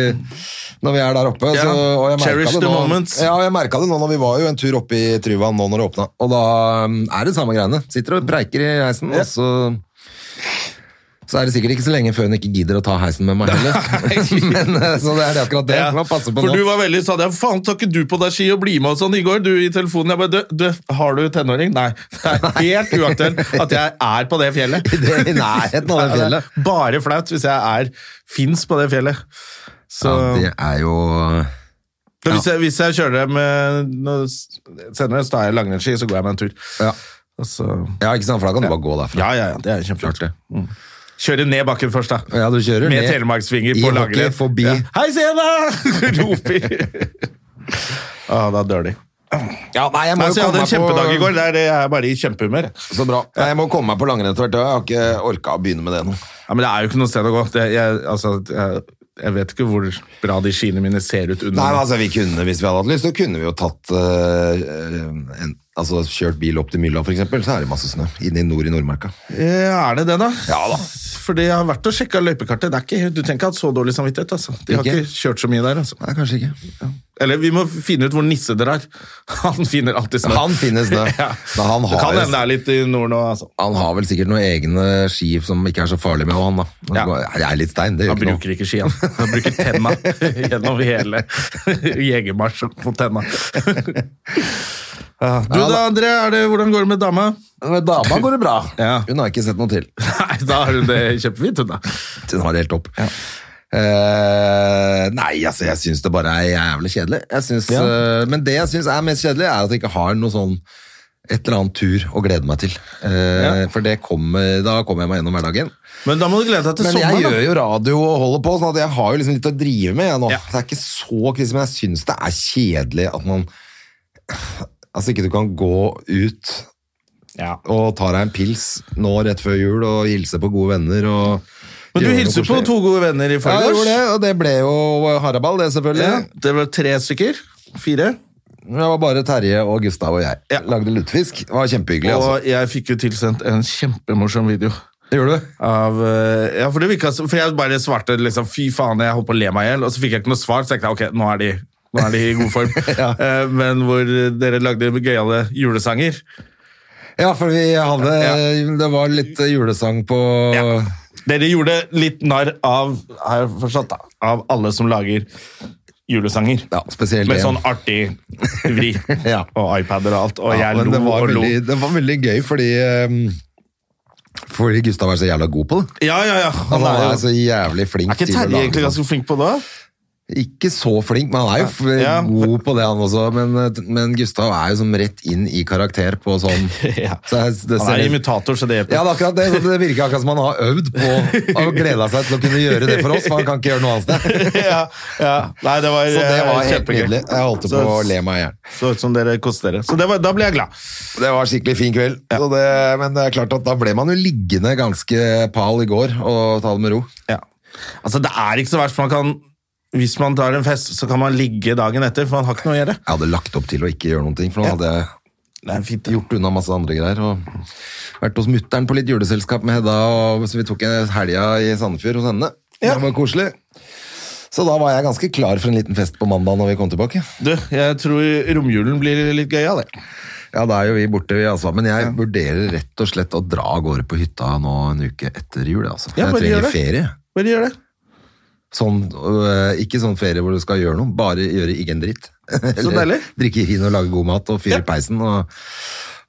Speaker 2: når vi er der oppe.
Speaker 1: Ja,
Speaker 2: Så, og jeg merket
Speaker 1: cherish
Speaker 2: det
Speaker 1: the
Speaker 2: nå,
Speaker 1: moments.
Speaker 2: Ja, og jeg merket det nå når vi var jo en tur oppe i Tryvann nå når det åpnet. Og da mm, er det samme greiene. Sitter og preiker i reisen, og så... Så er det sikkert ikke så lenge før hun ikke gidder å ta heisen med
Speaker 1: <laughs>
Speaker 2: meg heller. <laughs> Men, eh, så det er akkurat det.
Speaker 1: Ja.
Speaker 2: Man passer på
Speaker 1: For
Speaker 2: nå.
Speaker 1: du var veldig sånn ja, 'Faen, tar ikke du på deg ski og bli med?' og sånn i går. Du i telefonen. Jeg bare du, du, 'Har du tenåring?' Nei. Det er helt uaktuelt at jeg er på det fjellet.
Speaker 2: <laughs> Det er i nærheten av det
Speaker 1: Ja,
Speaker 2: fjellet.
Speaker 1: er Bare flaut hvis jeg er fins på det fjellet. Så,
Speaker 2: Ja, det er jo
Speaker 1: Men hvis, jeg, hvis jeg kjører dem eh, nå s- senere, så tar jeg langrennsski, så går jeg meg en tur.
Speaker 2: Ja,
Speaker 1: Og så,
Speaker 2: ja ikke sant, for da kan du bare gå derfra.
Speaker 1: ja, ja, ja, det er kjempeflott.
Speaker 2: det.
Speaker 1: Mm. Kjøre ned bakken først, da.
Speaker 2: Ja, du kjører
Speaker 1: Med
Speaker 2: ned
Speaker 1: telemarksvinger
Speaker 2: i
Speaker 1: på
Speaker 2: hockey
Speaker 1: langrenn.
Speaker 2: forbi.
Speaker 1: Ja. Hei, se deg! <laughs> Roper.
Speaker 2: <laughs>
Speaker 1: ah, da dør de.
Speaker 2: Ja, nei, jeg må
Speaker 1: Nei,
Speaker 2: jo
Speaker 1: så jeg
Speaker 2: komme
Speaker 1: hadde en kjempedag
Speaker 2: meg
Speaker 1: i går. Det er det jeg er bare i kjempehumør.
Speaker 2: Så bra. Ja, Jeg må komme meg på langrenn etter hvert. og Jeg har ikke orka å begynne med det nå.
Speaker 1: Ja, men det er jo ikke noe sted å gå. Det, jeg, altså, jeg, jeg vet ikke hvor bra de skiene mine ser ut under.
Speaker 2: Nei, men altså, vi kunne, Hvis vi hadde hatt lyst, så kunne vi jo tatt eh, en, Altså kjørt bil opp til Mylla, for eksempel Så er det masse snø inne i nord i Nordmarka.
Speaker 1: Eh, Er det det, da?
Speaker 2: Ja da.
Speaker 1: Fordi jeg har vært og sjekka løypekartet. Det er ikke, du trenger ikke ha så dårlig samvittighet. altså. De har
Speaker 2: Ikke?
Speaker 1: ikke kjørt så mye der. altså.
Speaker 2: Nei, kanskje ikke.
Speaker 1: Eller vi må finne ut hvor Nisse drar. <laughs> Han finner alltid snø.
Speaker 2: Han finner snø.
Speaker 1: <laughs> Ja.
Speaker 2: Men han
Speaker 1: det
Speaker 2: har
Speaker 1: kan
Speaker 2: jo-
Speaker 1: hende det er litt i nord nå. altså.
Speaker 2: Han har vel sikkert noen egne ski som ikke er så farlige med han, da.
Speaker 1: Ja.
Speaker 2: Det er litt stein, det gjør
Speaker 1: Han
Speaker 2: ikke noe.
Speaker 1: bruker ikke ski, han. Han bruker <laughs> tenna gjennom hele jegermarsjen på tenna. Ja, Du
Speaker 2: Ja,
Speaker 1: da,
Speaker 2: da.
Speaker 1: André. Er det, hvordan går det med <laughs> dama?
Speaker 2: Med dama går det bra.
Speaker 1: Ja.
Speaker 2: Hun har ikke sett noe til.
Speaker 1: Nei, da har hun det kjempefint, hun da.
Speaker 2: Hun har det helt topp. Eh, nei, altså, jeg syns det bare er jævlig kjedelig. Jeg synes, eh, men det jeg syns er mest kjedelig, er at jeg ikke har noe sånn et eller annet tur å glede meg til. Eh, For det kommer, da kommer jeg meg gjennom hverdagen.
Speaker 1: Men da må du glede deg til
Speaker 2: Men jeg
Speaker 1: sommeren.
Speaker 2: gjør jo radio og holder på, sånn at jeg har jo liksom litt å drive med jeg, nå.
Speaker 1: Ja.
Speaker 2: Det er ikke så krise, men jeg syns det er kjedelig at man Altså, ikke du kan gå ut og ta deg en pils nå rett før jul og hilse på gode venner og
Speaker 1: da. Men du
Speaker 2: gjøre noe
Speaker 1: hilser på
Speaker 2: koselig.
Speaker 1: to gode venner
Speaker 2: Ja,
Speaker 1: i
Speaker 2: jeg gjorde
Speaker 1: forgårs.
Speaker 2: det, og det ble jo haraball, det selvfølgelig.
Speaker 1: Ja, det var tre stykker. Fire.
Speaker 2: Det var bare Terje og Gustav og jeg.
Speaker 1: Ja.
Speaker 2: Lagde lutefisk. Det var kjempehyggelig, altså.
Speaker 1: Og jeg fikk jo tilsendt en kjempemorsom video.
Speaker 2: Gjorde du?
Speaker 1: Av, eh, ja, for, det virka, som- for jeg bare svarte liksom Fy faen, jeg holdt på å le meg i hjel. Og så fikk jeg ikke noe svar, så jeg tenkte ok, nå er de, nå er de i god form.
Speaker 2: <laughs> Ja.
Speaker 1: Eh, Men hvor dere lagde gøyale julesanger.
Speaker 2: Ja, for vi hadde Det var litt julesang på
Speaker 1: Ja. Dere gjorde litt narr av har jeg forstått, da, av alle som lager julesanger.
Speaker 2: Ja, spesielt
Speaker 1: Med
Speaker 2: en.
Speaker 1: sånn artig vri
Speaker 2: <laughs> Ja.
Speaker 1: og iPader og alt. Og
Speaker 2: Ja,
Speaker 1: jeg
Speaker 2: men det
Speaker 1: lo
Speaker 2: var,
Speaker 1: og lo.
Speaker 2: veldig, det var veldig gøy, fordi ehm, Fordi Gustav er så jævla god på det.
Speaker 1: Ja, ja, ja.
Speaker 2: Han er, altså så
Speaker 1: jo-
Speaker 2: jævlig flink
Speaker 1: er ikke
Speaker 2: til å
Speaker 1: Terje
Speaker 2: lage
Speaker 1: egentlig
Speaker 2: sånn.
Speaker 1: ganske flink på det?
Speaker 2: Ikke så flink, men han er jo f-
Speaker 1: Ja.
Speaker 2: god på det, han også. Men, eh, men Gustav er jo som rett inn i karakter på sånn
Speaker 1: <laughs> Ja.
Speaker 2: så jeg- det
Speaker 1: Han
Speaker 2: ser-
Speaker 1: er imitator, så det hjelper.
Speaker 2: Ja, det, er akkurat det, Så det virker akkurat som han har øvd på og gleda seg til å kunne gjøre det for oss, for han kan ikke gjøre noe annet sted.
Speaker 1: <laughs> ja, ja. Nei, det var,
Speaker 2: Så det var
Speaker 1: eh,
Speaker 2: helt
Speaker 1: kjempegøy.
Speaker 2: nydelig. Jeg holdt på
Speaker 1: Så-
Speaker 2: å le meg i hjel.
Speaker 1: Så ut som dere koste dere. Så det var, da ble jeg glad.
Speaker 2: Det var skikkelig fin kveld. Så det, men det er klart at da ble man jo liggende ganske pal i går og ta det med ro.
Speaker 1: Ja. Altså, det er ikke så verst. Man kan, hvis man tar en fest, så kan man ligge dagen etter, for man har ikke noe å gjøre.
Speaker 2: Jeg hadde lagt opp til å ikke gjøre noen ting, for nå hadde jeg
Speaker 1: Det er fint,
Speaker 2: gjort unna masse andre greier. Og vært hos mutter'n på litt juleselskap med Hedda, og så vi tok en helga i Sandefjord hos henne.
Speaker 1: Ja.
Speaker 2: Det var koselig. Så da var jeg ganske klar for en liten fest på mandag når vi kom tilbake.
Speaker 1: Du, jeg tror romjulen blir litt gøy av det.
Speaker 2: Ja, da er jo vi borte, vi altså. Men jeg vurderer rett og slett å dra av gårde på hytta nå en uke etter jul, altså.
Speaker 1: Ja,
Speaker 2: jeg
Speaker 1: bare
Speaker 2: trenger
Speaker 1: gjør det.
Speaker 2: ferie.
Speaker 1: Bare gjør det.
Speaker 2: Sånn, øh, ikke sånn ferie hvor du skal gjøre noe, bare gjøre egen dritt. <laughs> Eller
Speaker 1: deilig.
Speaker 2: Drikke vin og lage god mat og fyre i peisen og,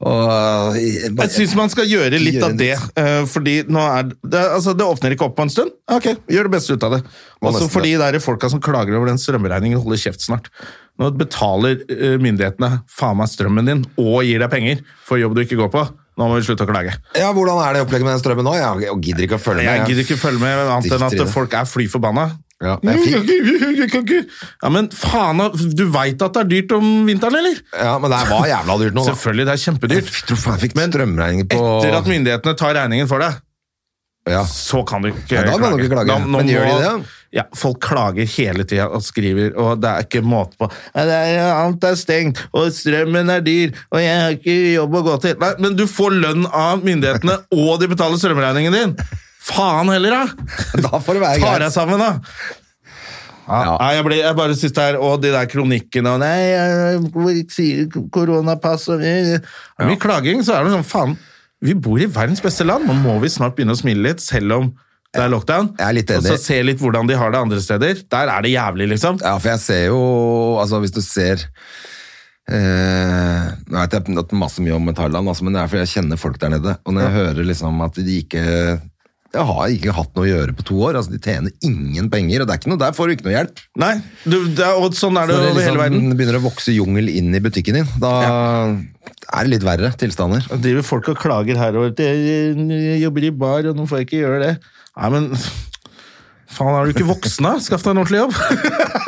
Speaker 2: og øh, i-
Speaker 1: Jeg syns man skal gjøre litt
Speaker 2: Gjøre
Speaker 1: av det, eh, fordi nå er det, altså, det åpner ikke opp på en stund. Ok, gjør det beste ut av det.
Speaker 2: Må
Speaker 1: Også
Speaker 2: nesten
Speaker 1: for de der folka som klager over den strømregningen, holder kjeft snart. Nå betaler eh, myndighetene faen meg strømmen din og gir deg penger for jobb du ikke går på. Nå må vi slutte å klage.
Speaker 2: Ja, hvordan er det opplegget med den strømmen nå? Jeg, jeg gidder ikke å følge med.
Speaker 1: Jeg gidder ikke følge med annet enn
Speaker 2: Driter i
Speaker 1: at
Speaker 2: det.
Speaker 1: folk er fly forbanna.
Speaker 2: Ja, men
Speaker 1: Mm.
Speaker 2: jeg fikk,
Speaker 1: Ja, men faen, du veit at det er dyrt om vinteren, eller?
Speaker 2: ja, men det var jævla dyrt nå, da.
Speaker 1: Selvfølgelig, det er kjempedyrt.
Speaker 2: Jeg tror faen jeg fikk
Speaker 1: Men
Speaker 2: strømregninger på
Speaker 1: Etter at myndighetene tar regningen for deg,
Speaker 2: ja. <laughs>
Speaker 1: så kan du ikke
Speaker 2: Ja, da kan du ikke klage. Men gjør de det?
Speaker 1: Ja, folk klager hele tida og skriver, og det er ikke måte på. Ja, det er, alt er stengt, og strømmen er dyr, og jeg har ikke jobb å gå til. Nei, men du får lønn av myndighetene, <laughs> og de betaler strømregningen din! Faen heller, da!
Speaker 2: Da får det være
Speaker 1: Ta deg
Speaker 2: greit.
Speaker 1: sammen, da!
Speaker 2: Ja.
Speaker 1: Nei, jeg, ble, jeg bare synes det her, og de der kronikkene og Nei, jeg- hvor sier koronapass og eh, eh. Det er Mye klaging, så er det sånn faen Vi bor i verdens beste land, nå må vi snart begynne å smile litt, selv om det er lockdown.
Speaker 2: Jeg er litt
Speaker 1: og
Speaker 2: enig.
Speaker 1: så se litt hvordan de har det andre steder. Der er det jævlig, liksom.
Speaker 2: Ja, for jeg ser jo Altså, hvis du ser eh, Nå vet jeg at masse mye om Thailand, altså, men det er fordi jeg kjenner folk der nede. Og når jeg hører liksom at de ikke Jeg har ikke hatt noe å gjøre på to år. altså De tjener ingen penger, og det er ikke noe, der får du ikke noe hjelp.
Speaker 1: Nei, du, det er, og sånn er det
Speaker 2: Når det
Speaker 1: over hele verden.
Speaker 2: liksom begynner å vokse jungel inn i butikken din, da er det litt verre tilstander.
Speaker 1: Og driver folk og klager her og «Det- jeg jobber i bar, og nå får jeg ikke gjøre det. Nei, men faen, er du ikke voksen da? Skaff deg en ordentlig jobb.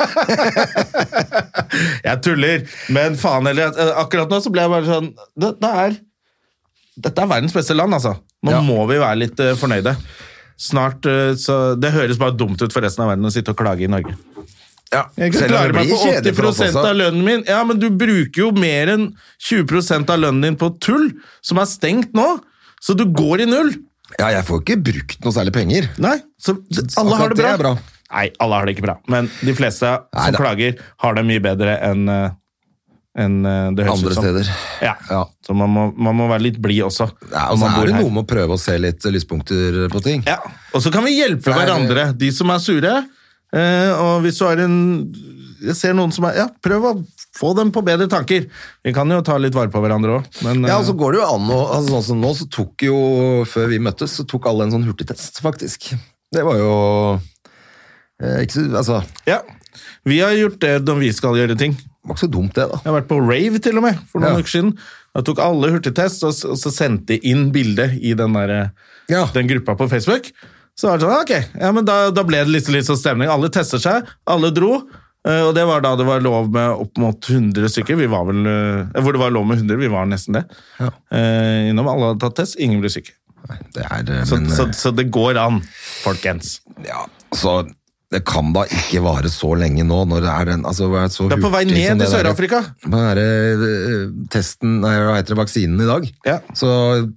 Speaker 1: <laughs> jeg tuller, men faen heller. at- eh, Akkurat nå så ble jeg bare sånn, det, det er, dette er verdens beste land, altså. Nå
Speaker 2: Ja.
Speaker 1: må vi være litt eh, fornøyde. Snart, eh, så det høres bare dumt ut for resten av verden å sitte og klage i Norge. Jeg kan
Speaker 2: Selv om
Speaker 1: klare
Speaker 2: det
Speaker 1: meg
Speaker 2: blir
Speaker 1: på
Speaker 2: kjedelig for oss
Speaker 1: 80
Speaker 2: også.
Speaker 1: av lønnen min. Ja, men du bruker jo mer enn 20 av lønnen din på tull, som er stengt nå. Så du går i null.
Speaker 2: Ja, jeg får ikke brukt noe særlig penger.
Speaker 1: Nei, så d- alle har
Speaker 2: Akkurat
Speaker 1: det bra.
Speaker 2: det er bra.
Speaker 1: Nei, alle har det ikke bra. Men de fleste
Speaker 2: Nei
Speaker 1: som
Speaker 2: da.
Speaker 1: klager, har det mye bedre enn eh, enn, eh, det høres
Speaker 2: Andre
Speaker 1: ut som.
Speaker 2: steder.
Speaker 1: Ja.
Speaker 2: Ja.
Speaker 1: Så man må, man må være litt blid også.
Speaker 2: Ja,
Speaker 1: når
Speaker 2: og så
Speaker 1: man bor
Speaker 2: er det
Speaker 1: her.
Speaker 2: noe med å prøve å se litt lyspunkter på ting.
Speaker 1: Ja, og så kan vi hjelpe
Speaker 2: Nei, det-
Speaker 1: hverandre, de som er sure. Eh, og hvis du har en Jeg ser noen som er Ja, prøv å få dem på bedre tanker. Vi kan jo ta litt vare på hverandre òg, men
Speaker 2: Ja, og
Speaker 1: eh,
Speaker 2: så går det jo an å altså, Sånn som nå, så tok jo Før vi møttes, så tok alle en sånn hurtigtest, faktisk. Det var jo Eh, Ikke så, altså, det
Speaker 1: Ja. Vi har gjort det når vi skal gjøre ting.
Speaker 2: var ikke så dumt, det, da.
Speaker 1: Jeg har vært på rave til og med for noen
Speaker 2: Ja.
Speaker 1: uker siden. Jeg tok alle hurtigtest, og, s- og så sendte jeg inn bildet i den, der, eh,
Speaker 2: Ja.
Speaker 1: den gruppa på Facebook. Så var det sånn, ok, ja, men da, da ble det litt, litt sånn stemning. Alle testet seg, alle dro. eh, Og det var da det var lov med opp mot 100 stykker. Vi var vel, eh, hvor det var lov med 100, vi var nesten det. Eh, innom alle hadde tatt test, ingen ble syke.
Speaker 2: Det er, eh,
Speaker 1: Så,
Speaker 2: men, eh,
Speaker 1: så, så det går an, folkens.
Speaker 2: ja, altså, det kan da ikke vare så lenge nå, når det er den altså, hva er så
Speaker 1: Det er på vei
Speaker 2: hurtig som
Speaker 1: ned i
Speaker 2: det der-
Speaker 1: Sør-Afrika.
Speaker 2: På den der, eh, testen, nei, hva heter det, vaksinen i dag,
Speaker 1: Ja.
Speaker 2: så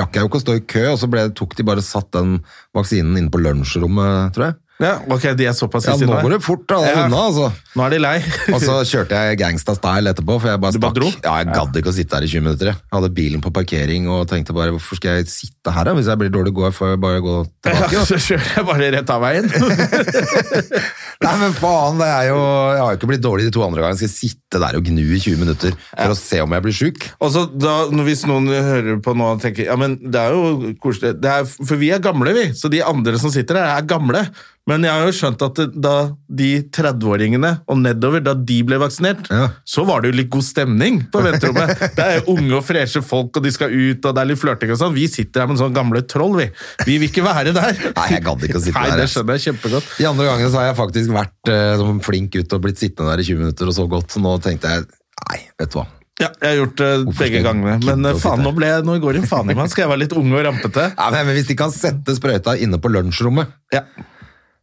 Speaker 2: rakk jeg jo ikke å stå i kø, og så ble, tok de bare satt den vaksinen inne på lunsjrommet, tror jeg.
Speaker 1: Ja, ok, de er såpass
Speaker 2: Ja,
Speaker 1: siste
Speaker 2: nå
Speaker 1: der.
Speaker 2: går det Altså, fort da,
Speaker 1: Ja.
Speaker 2: unna, altså.
Speaker 1: Nå er de lei.
Speaker 2: Og så kjørte jeg gangsta style etterpå, for jeg bare
Speaker 1: Du bare
Speaker 2: stakk.
Speaker 1: dro?
Speaker 2: Ja, jeg gadd ikke å sitte her i 20 minutter. Jeg Jeg hadde bilen på parkering og tenkte bare, hvorfor skal jeg sitte her da? Hvis jeg blir dårlig, går jeg, får jeg bare gå tilbake.
Speaker 1: Ja, så kjører jeg bare rett
Speaker 2: <laughs>
Speaker 1: av veien.
Speaker 2: Nei, men faen, det er jo, jeg har jo ikke blitt dårlig de to andre gangene. Jeg skal sitte der og gnu i 20 minutter for å se om jeg blir syk.
Speaker 1: Og så da, når- Hvis noen hører på nå og tenker ja, men det er jo koselig det er, For vi er gamle, vi. Så de andre som sitter her, er gamle. Men jeg har jo skjønt at det, da de 30-åringene og nedover, da de ble vaksinert,
Speaker 2: Ja.
Speaker 1: så var det jo litt god stemning
Speaker 2: <laughs>
Speaker 1: på venterommet. Det er jo unge og freshe folk, og de skal ut, og det er litt flørting og sånn. Vi sitter her med sånne gamle troll, vi. Vi vil ikke være der.
Speaker 2: Nei, jeg gadd ikke å sitte
Speaker 1: Nei,
Speaker 2: der,
Speaker 1: det
Speaker 2: ass.
Speaker 1: skjønner jeg kjempegodt.
Speaker 2: De andre gangene så har jeg faktisk vært eh, som en flink gutt og blitt sittende der i 20 minutter og så godt. Så nå tenkte jeg, nei, vet du hva.
Speaker 1: Ja, jeg har gjort det
Speaker 2: skal
Speaker 1: begge
Speaker 2: jeg
Speaker 1: gangene.
Speaker 2: gidde
Speaker 1: Men
Speaker 2: å
Speaker 1: eh,
Speaker 2: sitte her?
Speaker 1: faen, nå, ble, jeg- nå går det en faen i meg. Skal jeg være litt ung og rampete?
Speaker 2: Nei, men hvis de kan sette sprøyta inne på lunsjrommet,
Speaker 1: Ja.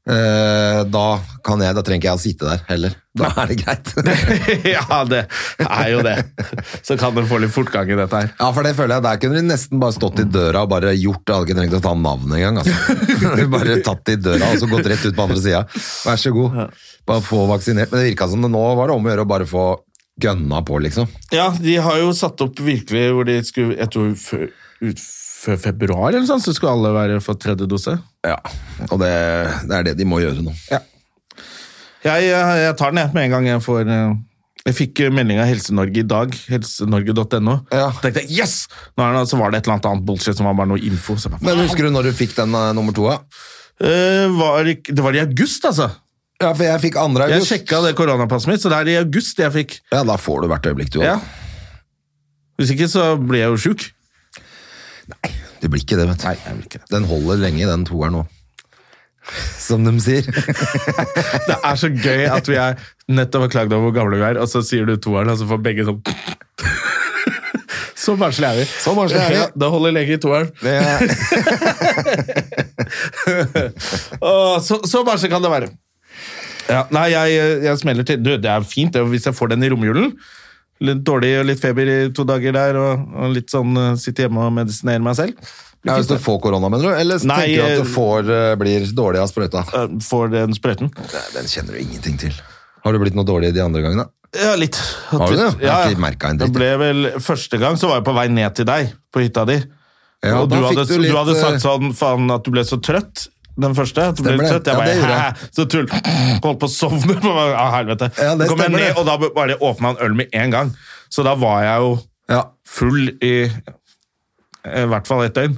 Speaker 2: Eh, da kan jeg, da trenger ikke jeg å sitte der heller. Da er det greit. <laughs>
Speaker 1: <laughs> ja, det er jo det. Så kan det få litt fortgang i dette her.
Speaker 2: Ja, for det føler jeg, der kunne de nesten bare stått i døra og bare gjort det. Jeg hadde ikke trengt å ta navnet engang, altså. De bare tatt det i døra og så gått rett ut på andre sida. Vær så god. Bare få vaksinert. Men det virka som det nå var det om å gjøre å bare få gønna på, liksom.
Speaker 1: Ja, de har jo satt opp virkelig hvor de skulle Jeg tror før, ut, før februar eller sånn, så skulle alle være fått tredje dose.
Speaker 2: Ja. Og det, det er det de må gjøre nå.
Speaker 1: Jeg, jeg, jeg tar den jeg med en gang jeg får eh, jeg fikk eh, melding av Helse-Norge i dag, helsenorge.no.
Speaker 2: Ja.
Speaker 1: tenkte jeg, yes! Nå er det, så var det et eller annet annet bullshit som var bare noe info. Så jeg bare,
Speaker 2: Men husker du når du fikk den eh, nummer to? Ja?
Speaker 1: eh, var det, ikke- det var i august, altså.
Speaker 2: ja, for jeg fikk andre
Speaker 1: Jeg
Speaker 2: august.
Speaker 1: sjekka det koronapasset mitt, så det er i august jeg fikk.
Speaker 2: Ja, da får du hvert øyeblikk, du
Speaker 1: Ja.
Speaker 2: også.
Speaker 1: Hvis ikke så blir jeg jo sjuk.
Speaker 2: Det blir ikke det, vet du.
Speaker 1: Nei, jeg vil ikke det.
Speaker 2: Den holder lenge, den toeren nå. Som de sier.
Speaker 1: Det er så gøy at vi er nettopp har klagd over hvor gamle vi er, og så sier du toeren, og så får begge sånn <laughs> Så barnslig er vi.
Speaker 2: Så barnslig er vi.
Speaker 1: Ja, det holder lenge i toeren.
Speaker 2: Det er,
Speaker 1: Åh, Så, så barnslig kan det være. Ja, nei, jeg, jeg smeller til. Du, det er fint det, hvis jeg får den i romjulen. Litt dårlig og litt feber i to dager der, og, og litt sånn eh, sitte hjemme og medisinere meg selv.
Speaker 2: ja, hvis du får korona, mener du? Eller
Speaker 1: Nei,
Speaker 2: tenker du at
Speaker 1: eh,
Speaker 2: du får, eh, blir dårlig av sprøyta?
Speaker 1: Eh, Får den sprøyten.
Speaker 2: Nei, Den kjenner du ingenting til. Har du blitt noe dårlig de andre gangene?
Speaker 1: Ja, litt.
Speaker 2: Har du det? Jeg
Speaker 1: Ja,
Speaker 2: har
Speaker 1: ja.
Speaker 2: ikke merket en
Speaker 1: Det
Speaker 2: dritt.
Speaker 1: ble vel, første gang så var jeg på vei ned til deg, på hytta di.
Speaker 2: Ja,
Speaker 1: og du
Speaker 2: da fikk
Speaker 1: hadde,
Speaker 2: du
Speaker 1: du,
Speaker 2: litt,
Speaker 1: hadde
Speaker 2: eh,
Speaker 1: sagt sånn, faen, at du ble så trøtt. Den første, at du ble
Speaker 2: Stemmer
Speaker 1: litt
Speaker 2: det.
Speaker 1: trøtt. Jeg
Speaker 2: Ja,
Speaker 1: bare,
Speaker 2: det gjorde
Speaker 1: hæ, så tull. Holdt på å sovne. på meg. <laughs> Ja, helvete.
Speaker 2: Ja, det
Speaker 1: Så kom jeg
Speaker 2: stemmer
Speaker 1: ned,
Speaker 2: det.
Speaker 1: og da bare åpna en øl med en gang. Så da var jeg jo
Speaker 2: Ja.
Speaker 1: full i eh, i hvert fall ett døgn.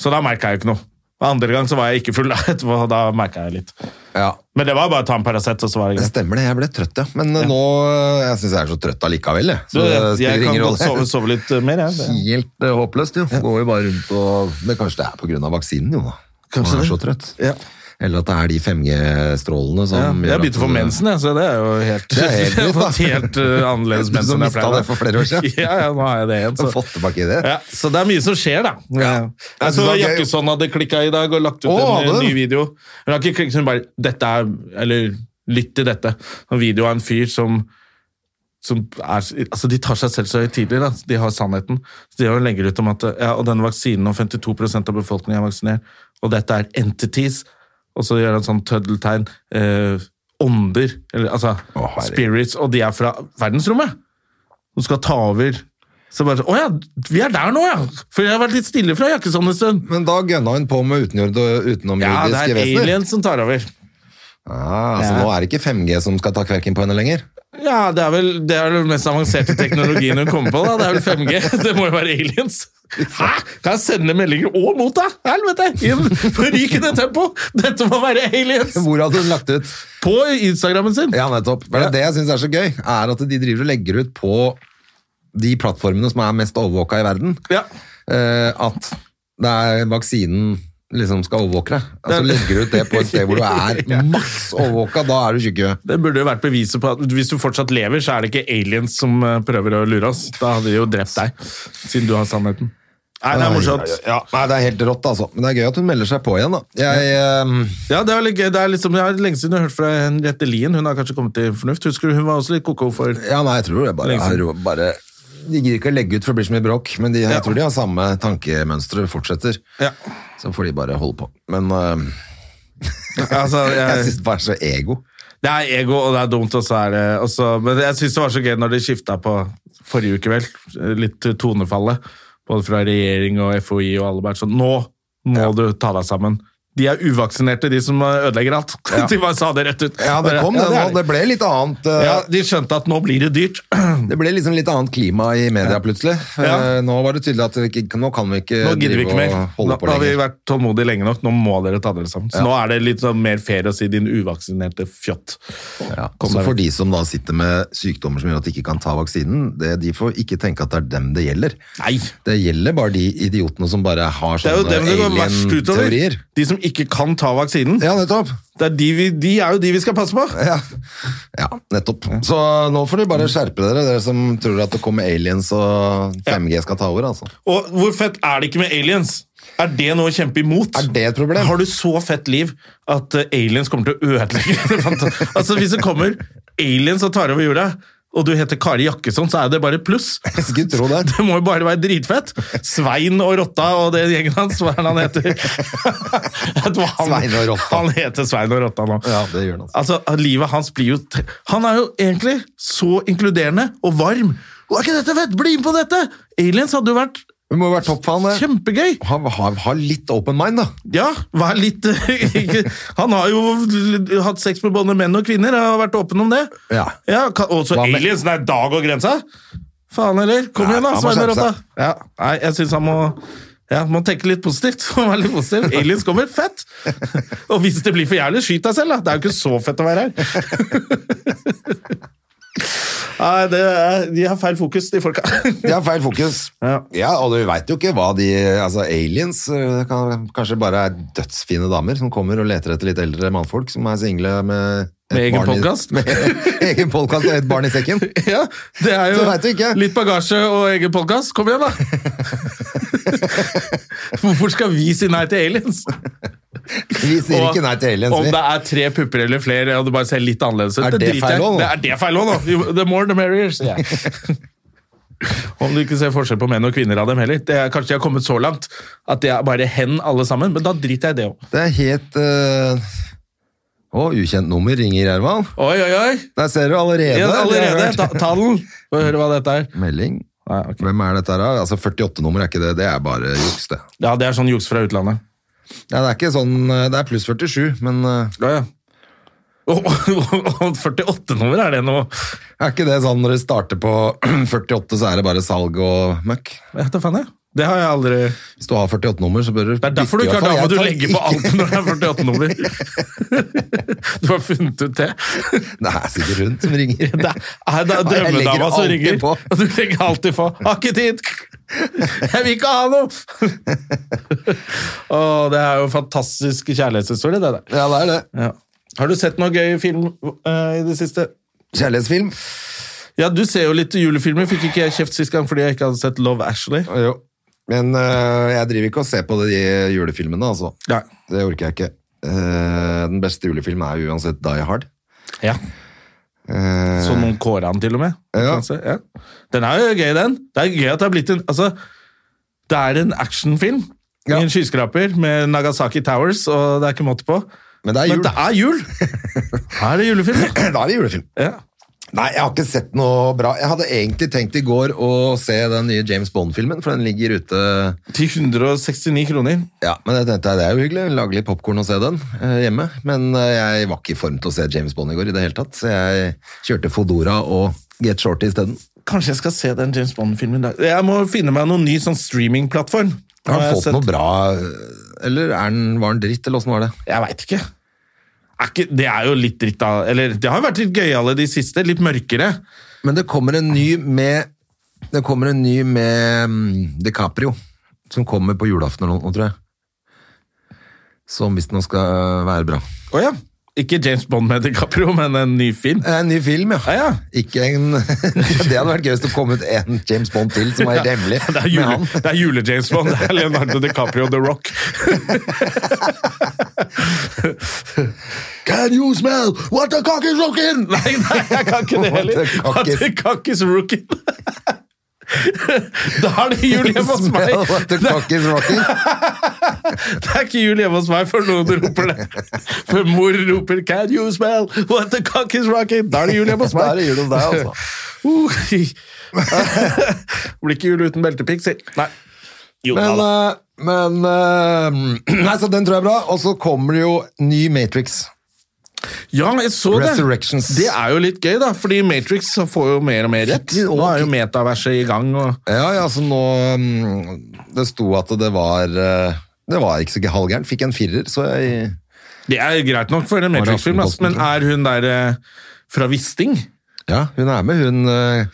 Speaker 1: Så da merka jeg jo ikke noe. Andre gang så var jeg ikke full, <laughs> da, etterpå, og da merka jeg litt.
Speaker 2: ja.
Speaker 1: Men det var bare å ta en Paracet, og så var det
Speaker 2: Det
Speaker 1: greit.
Speaker 2: stemmer det, jeg ble trøtt, ja. Men eh, nå eh, Jeg syns jeg er så trøtt allikevel, jeg.
Speaker 1: Du,
Speaker 2: Så det
Speaker 1: jeg, jeg
Speaker 2: spiller
Speaker 1: kan
Speaker 2: ingen
Speaker 1: godt sove,
Speaker 2: rolle.
Speaker 1: sove litt eh, mer, jeg. Det-
Speaker 2: <laughs> Helt eh, håpløst, jo. Går jo bare rundt og Men kanskje det er på grunn av vaksinen, jo, da. Man
Speaker 1: Kanskje
Speaker 2: er
Speaker 1: det.
Speaker 2: så trøtt.
Speaker 1: Ja.
Speaker 2: Eller at det er de 5G-strålene som
Speaker 1: Ja,
Speaker 2: gjør
Speaker 1: jeg
Speaker 2: at
Speaker 1: begynte å få
Speaker 2: du-
Speaker 1: mensen, jeg, så det er jo helt,
Speaker 2: Det er helt
Speaker 1: <laughs> jeg har
Speaker 2: nytt, da.
Speaker 1: fått helt uh, annerledes
Speaker 2: Du
Speaker 1: mensen
Speaker 2: som
Speaker 1: enn jeg
Speaker 2: mistet
Speaker 1: pleier, da.
Speaker 2: det for flere år siden.
Speaker 1: <laughs> ja, ja, nå har jeg det igjen.
Speaker 2: Du
Speaker 1: Så.
Speaker 2: har fått tilbake i det.
Speaker 1: Ja, så det er mye som skjer, da. Ja.
Speaker 2: Jeg
Speaker 1: Jeg
Speaker 2: synes
Speaker 1: så
Speaker 2: det var gøy.
Speaker 1: Jakkesson hadde klikka i dag og lagt ut
Speaker 2: Å,
Speaker 1: en
Speaker 2: hadde
Speaker 1: eh, ny
Speaker 2: hun?
Speaker 1: video. Hun har ikke klikket, hun bare 'Dette er Eller 'Lytt til dette'. En video av en fyr som som er, altså De tar seg selv så høytidelig. da. De har sannheten. Så de har jo legger ut om at ja, og denne vaksinen og 52 av befolkningen er vaksinert, og dette er entities. Og så gjør han sånn tøddeltegn. Eh, ånder. Eller altså
Speaker 2: Å, herregud.
Speaker 1: spirits. Og de er fra verdensrommet! Som skal ta over. Så bare sånn Å ja, vi er der nå, ja! For jeg har vært litt stille fra Jakkesson en stund.
Speaker 2: Men da gønna hun på med utenjord-
Speaker 1: Ja, det
Speaker 2: utenomjordiske
Speaker 1: er
Speaker 2: vesener.
Speaker 1: aliens som tar over.
Speaker 2: Ah, så nå er det ikke 5G som skal ta kverken på henne lenger?
Speaker 1: Ja, det er vel det er vel den mest avanserte teknologien hun kommer på. da. Det er vel 5G. <laughs> Det må jo være aliens. Hæ?! Kan jeg sende meldinger og motta? Helvete! I en forrykende tempo! Dette må være aliens!
Speaker 2: Hvor hadde hun lagt ut?
Speaker 1: På Instagrammen sin!
Speaker 2: Ja, nettopp. Men det, er det jeg syns er så gøy, er at de driver og legger ut på de plattformene som er mest overvåka i verden,
Speaker 1: Ja.
Speaker 2: eh, at det er vaksinen liksom skal overvåke deg. Altså
Speaker 1: Det-
Speaker 2: legger du ut det på et sted <laughs> hvor du er maks overvåka, da er du tjukk i huet.
Speaker 1: Det burde jo vært beviset på at hvis du fortsatt lever, så er det ikke aliens som eh, prøver å lure oss. Da hadde de jo drept deg, siden du har sannheten. Nei, det er morsomt.
Speaker 2: Ja, nei, det er helt rått, altså. Men det er gøy at hun melder seg på igjen, da. Jeg, eh,
Speaker 1: Ja, det er, litt gøy. det er liksom, jeg har lenge siden jeg har hørt fra Henriette Lien. Hun har kanskje kommet til fornuft. Husker du, hun var også litt koko for
Speaker 2: Ja, nei, jeg tror det bare,
Speaker 1: Lenge siden.
Speaker 2: jeg tror bare De gidder ikke å legge ut for det blir så mye bråk, men de, jeg
Speaker 1: Ja.
Speaker 2: tror de har samme tankemønstre og fortsetter.
Speaker 1: Ja.
Speaker 2: Så får de bare holde på. Men øh,
Speaker 1: Altså,
Speaker 2: jeg
Speaker 1: <laughs> jeg,
Speaker 2: synes det bare er så ego.
Speaker 1: det er ego, og det er dumt, og så er det og så- Men jeg syns det var så gøy når de skifta på forrige uke, vel. Litt tonefallet. Både fra regjering og FHI og alle bare sånn Nå må du ta deg sammen. De er uvaksinerte, de som eh, ødelegger alt. <laughs> De bare sa det rett ut.
Speaker 2: Ja, det kom det
Speaker 1: er
Speaker 2: nå. Det ble litt annet øh,
Speaker 1: Ja, De skjønte at nå blir det dyrt. <clears throat>
Speaker 2: Det ble liksom litt annet klima i media plutselig.
Speaker 1: Ja.
Speaker 2: Eh, Nå var det tydelig at vi ikke, nå kan vi ikke
Speaker 1: Nå gidder
Speaker 2: drive
Speaker 1: vi ikke mer.
Speaker 2: og
Speaker 1: Nå
Speaker 2: holde på
Speaker 1: nå har vi
Speaker 2: lenger.
Speaker 1: vært tålmodige lenge nok. Nå må dere ta dere sammen. Så nå er det litt sånn mer fair å si din uvaksinerte fjott.
Speaker 2: Ja.
Speaker 1: Kom
Speaker 2: Så
Speaker 1: deg
Speaker 2: for
Speaker 1: vekk.
Speaker 2: de som da sitter med sykdommer som gjør at de ikke kan ta vaksinen, det, de får ikke tenke at det er dem det gjelder.
Speaker 1: Nei!
Speaker 2: Det gjelder bare de idiotene som bare har
Speaker 1: Det er jo
Speaker 2: sånne
Speaker 1: dem det går verst utover.
Speaker 2: alien-teorier.
Speaker 1: De som ikke kan ta vaksinen.
Speaker 2: Ja, nettopp.
Speaker 1: Det er de, vi, de er jo de vi skal passe på.
Speaker 2: Ja. ja, nettopp. Så nå får dere bare skjerpe dere, dere som tror at det kommer aliens og 5G skal ta over. altså.
Speaker 1: Og hvor fett er det ikke med aliens? Er det noe å kjempe imot?
Speaker 2: Er det et problem?
Speaker 1: Har du så fett liv at eh, aliens kommer til å ødelegge <laughs> det? fanta- altså, hvis det kommer aliens og tar over jorda, og du heter Kari Jakkesson, så er det bare pluss.
Speaker 2: Jeg skulle tro det.
Speaker 1: Det må jo bare være dritfett. Svein og Rotta og det gjengen hans, hva er det han heter? <laughs> Jeg tror han,
Speaker 2: Svein og Rotta.
Speaker 1: Han heter Svein og Rotta nå.
Speaker 2: <laughs> Ja, det gjør han.
Speaker 1: Altså, livet hans blir jo t- Han er jo egentlig så inkluderende og varm. Å, Er ikke dette fett? Bli med på dette! Aliens hadde jo vært
Speaker 2: Vi må jo være toppfan. det.
Speaker 1: kjempegøy.
Speaker 2: Ha, ha, ha litt open mind, da.
Speaker 1: Ja, vær litt <laughs> ikke- Han har jo hatt sex med både menn og kvinner og har vært åpen om det.
Speaker 2: Ja.
Speaker 1: Ja, kan- Og så
Speaker 2: Hva med-
Speaker 1: aliens! Nei, dag og grensa! Faen heller. Kom
Speaker 2: Nei,
Speaker 1: igjen,
Speaker 2: han
Speaker 1: da,
Speaker 2: må
Speaker 1: Svein og
Speaker 2: skjerpe
Speaker 1: Rotta.
Speaker 2: seg.
Speaker 1: Ja, nei, jeg syns han må ja, må tenke litt positivt. <laughs> Må være litt
Speaker 2: <laughs>
Speaker 1: positiv. Aliens kommer, fett! Og hvis det blir for jævlig, skyt deg selv, da. Det er jo ikke så fett å
Speaker 2: <laughs>
Speaker 1: være her. Nei, det er, de har feil fokus, de folka. <laughs>
Speaker 2: De har feil fokus.
Speaker 1: Ja.
Speaker 2: og du veit jo ikke hva de Altså, aliens eh, kan, kanskje bare er dødsfine damer som kommer og leter etter litt eldre mannfolk som er single med et
Speaker 1: Med egen
Speaker 2: barn i- <laughs>
Speaker 1: podcast?
Speaker 2: Med egen podkast og et barn i sekken.
Speaker 1: Ja, det er
Speaker 2: Det vet du
Speaker 1: jo
Speaker 2: ikke.
Speaker 1: litt bagasje og egen podkast. Kom
Speaker 2: <laughs>
Speaker 1: igjen, da! <laughs> Hvorfor skal vi si nei til aliens?
Speaker 2: Vi sier
Speaker 1: Og
Speaker 2: ikke nei til aliens,
Speaker 1: Om
Speaker 2: vi.
Speaker 1: det er tre pupper eller flere, og det bare ser litt annerledes ut,
Speaker 2: Er det
Speaker 1: driter
Speaker 2: feil
Speaker 1: jeg i.
Speaker 2: også, nå?
Speaker 1: Det er det feil òg, nå! You- The more the merrier, sier jeg. <laughs> Om du ikke ser forskjell på menn og kvinner av dem heller. Det er, kanskje de har kommet så langt at de er bare hen alle sammen, men da driter jeg i det òg.
Speaker 2: Det er helt eh, Å, ukjent nummer ringer Ervald.
Speaker 1: Oi, oi, oi!
Speaker 2: Der ser du allerede.
Speaker 1: Yes,
Speaker 2: Vi har
Speaker 1: allerede!
Speaker 2: hørt.
Speaker 1: Ta, ta den! Få høre hva dette er.
Speaker 2: Melding.
Speaker 1: Nei, ok.
Speaker 2: Hvem er dette her, da? Altså, 48-nummer er ikke det. Det er bare juks, det.
Speaker 1: Ja, det er sånn juks fra utlandet.
Speaker 2: Ja, det er ikke sånn eh, Det er pluss 47, men eh,
Speaker 1: Ja, ja. <laughs> Og 48-nummer, er det noe
Speaker 2: er ikke det sånn når det starter på <clears throat> 48, så er det bare salg og møkk?
Speaker 1: Jeg vet da faen, jeg. Det har jeg aldri Det
Speaker 2: Hvis du har 48-nummer, så bør du
Speaker 1: er derfor du
Speaker 2: bytte, i
Speaker 1: ikke
Speaker 2: hvert
Speaker 1: har dame
Speaker 2: fall.
Speaker 1: du
Speaker 2: Jeg
Speaker 1: legger
Speaker 2: tar
Speaker 1: på alt når det er
Speaker 2: <laughs>
Speaker 1: 48-nummer. Du har funnet ut det.
Speaker 2: ikke- <laughs> Det er sikkert hun
Speaker 1: <laughs>
Speaker 2: som ringer.
Speaker 1: Det er det er
Speaker 2: Ja, jeg legger
Speaker 1: drømmedama som
Speaker 2: alltid
Speaker 1: ringer,
Speaker 2: på.
Speaker 1: og du legger alltid på. Har ikke tid! Jeg vil ikke ha
Speaker 2: <laughs>
Speaker 1: noe! Å, det er jo en fantastisk kjærlighetshistorie, det der.
Speaker 2: Ja, det er det.
Speaker 1: Ja. Har du sett noe gøy film eh, i det siste?
Speaker 2: Kjærlighetsfilm.
Speaker 1: Ja, du ser jo litt julefilmer. Fikk ikke jeg kjeft sist gang fordi jeg ikke hadde sett Love Ashley?
Speaker 2: Jo. Men eh, jeg driver ikke og ser på de julefilmene, altså.
Speaker 1: Nei.
Speaker 2: Det orker jeg ikke. Eh, den beste julefilmen er jo uansett Die Hard.
Speaker 1: Ja.
Speaker 2: Eh,
Speaker 1: Så noen kåra han til og med.
Speaker 2: Ja.
Speaker 1: Kanskje, ja. Den er jo gøy, den. Det er gøy at det har blitt en Altså, det er en actionfilm.
Speaker 2: Ja.
Speaker 1: I en skyskraper med Nagasaki Towers, og det er ikke måte på.
Speaker 2: Men det er <laughs> jul.
Speaker 1: Men
Speaker 2: <clears throat>
Speaker 1: det er jul! Her er det julefilm.
Speaker 2: Da er det julefilm.
Speaker 1: Ja.
Speaker 2: Nei, jeg har ikke sett noe bra. Jeg hadde egentlig tenkt i går å se den nye James Bond-filmen, for den ligger ute
Speaker 1: Til 169 kroner.
Speaker 2: Ja, men jeg tenkte jeg, det er jo hyggelig. Lage litt popkorn og se den eh, hjemme. Men eh, jeg var ikke i form til å se James Bond i går i det hele tatt, så jeg kjørte Fodora og Get Shorty isteden.
Speaker 1: Kanskje jeg skal se den James Bond-filmen i dag. Jeg må finne meg noen ny sånn streamingplattform. Eh,
Speaker 2: Har
Speaker 1: Nå
Speaker 2: han
Speaker 1: jeg
Speaker 2: fått
Speaker 1: sett-
Speaker 2: noe bra, eh, eller er den, var den dritt, eller åssen var det?
Speaker 1: Jeg veit ikke. Er ikke. Det er jo litt dritt, da. Eller det har jo vært litt gøyale de siste. Litt mørkere.
Speaker 2: Men det kommer en ny med Det kommer en ny med mm, DiCaprio, som kommer på julaften eller noe, tror jeg. Som visstnok skal være bra.
Speaker 1: Å ja. Ikke James Bond med DiCaprio, men en ny film.
Speaker 2: Eh, En ny film, ja.
Speaker 1: Ja, ja.
Speaker 2: Ikke en <laughs> Det hadde vært gøy hvis det kom ut en James Bond til som var helt hemmelig.
Speaker 1: <laughs> Det er,
Speaker 2: med
Speaker 1: jule,
Speaker 2: han.
Speaker 1: det er jule-James Bond. Det er Leonardo DiCaprio The Rock.
Speaker 2: Can you smell what the cock is rocking?
Speaker 1: Nei, nei, jeg kan ikke det heller.
Speaker 2: What the cock is-
Speaker 1: What the cock is rookie. <laughs> Da er det jul hjemme hos meg.
Speaker 2: Smell what the
Speaker 1: Det
Speaker 2: cock is rocking?
Speaker 1: det er ikke jul hjemme hos meg før noen roper det. Før mor roper 'Can you smell what the cock is rocking?' Da er det jul hjemme hos
Speaker 2: Da er
Speaker 1: meg.
Speaker 2: det jul hos deg,
Speaker 1: <laughs>
Speaker 2: altså.
Speaker 1: Uh, <laughs> Blir ikke jul uten beltepick, si. Nei. <laughs> Jo, da,
Speaker 2: Men,
Speaker 1: da.
Speaker 2: eh, men eh, <clears throat> Nei, så den tror jeg er bra. Og så kommer det jo ny Matrix.
Speaker 1: Ja, jeg så det.
Speaker 2: Resurrections.
Speaker 1: Det er jo litt gøy, da, fordi Matrix får jo mer og mer rett. Nå er jo metaverset i gang. og...
Speaker 2: Ja, ja, altså nå mm, Det sto at det var eh, Det var ikke så ikke halvgærent. Fikk en firer, så jeg
Speaker 1: Det er greit nok for en Matrix-film, ass, men er hun der eh, fra Wisting?
Speaker 2: Ja, hun er med, hun eh,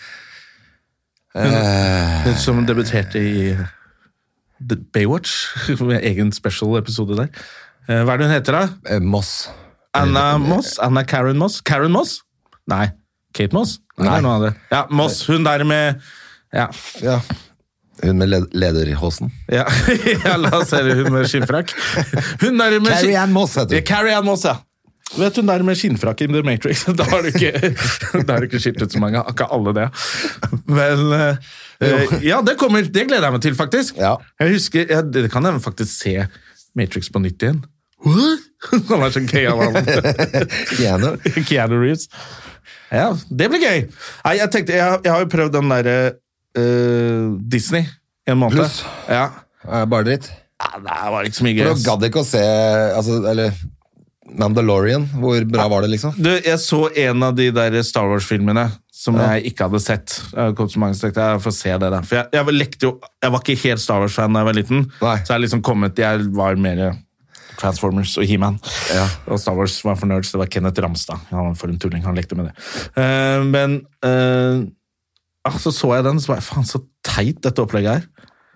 Speaker 1: Hun som debuterte i eh, The Baywatch, <laughs> med egen special-episode der. Eh, Hva er det hun heter, da?
Speaker 2: eh, Moss.
Speaker 1: Anna Moss? Anna Karen Moss? Karen Moss? Nei. Kate Moss? Nei. det
Speaker 2: Nei.
Speaker 1: er noe av det. Ja, Moss. Hun der med Ja.
Speaker 2: Ja. Hun med led lederhosen.
Speaker 1: ja. <laughs> ja la oss se, hun med skinnfrakk. Hun der med skinn-
Speaker 2: Carrie Ann Moss heter
Speaker 1: Ja,
Speaker 2: hun.
Speaker 1: Carrie Ann Moss, ja. Vet hun der med skinnfrakk i The Matrix? <laughs> Da har du ikke, da har du ikke skilt ut så mange. Ikke alle det. Men eh, eh, Ja, det kommer. Det gleder jeg meg til, faktisk.
Speaker 2: Ja.
Speaker 1: Jeg husker, ja, Det kan jeg faktisk se Matrix på nytt igjen. What? <laughs> Han er så gøy, han andre.
Speaker 2: <laughs> Keanu.
Speaker 1: Keanu Reeves. Ja, det blir gøy. Nei, jeg tenkte, jeg, har- jeg har jo prøvd den derre eh, Disney en måned.
Speaker 2: Pluss.
Speaker 1: Ja.
Speaker 2: Er Eh, bare dritt.
Speaker 1: ja. Det var ikke så mye gøy.
Speaker 2: For
Speaker 1: ass.
Speaker 2: du gadd ikke å se altså, Eller Mandalorian. Hvor bra var det, liksom?
Speaker 1: Du, jeg så en av de der Star Wars-filmene som jeg ikke hadde sett. Jeg kom så mange som tenkte, jeg får se det der. For jeg, jeg, lekte jo, jeg var ikke helt Star Wars-fan da jeg var liten,
Speaker 2: Nei.
Speaker 1: så jeg liksom kommet, jeg var mer Transformers og He-Man. Og Star Wars var for nerds, det var Kenneth Ramstad. Han var for en tulling, han lekte med det. Eh, men eh, ah, så så jeg den, så var jeg, faen så teit dette opplegget her.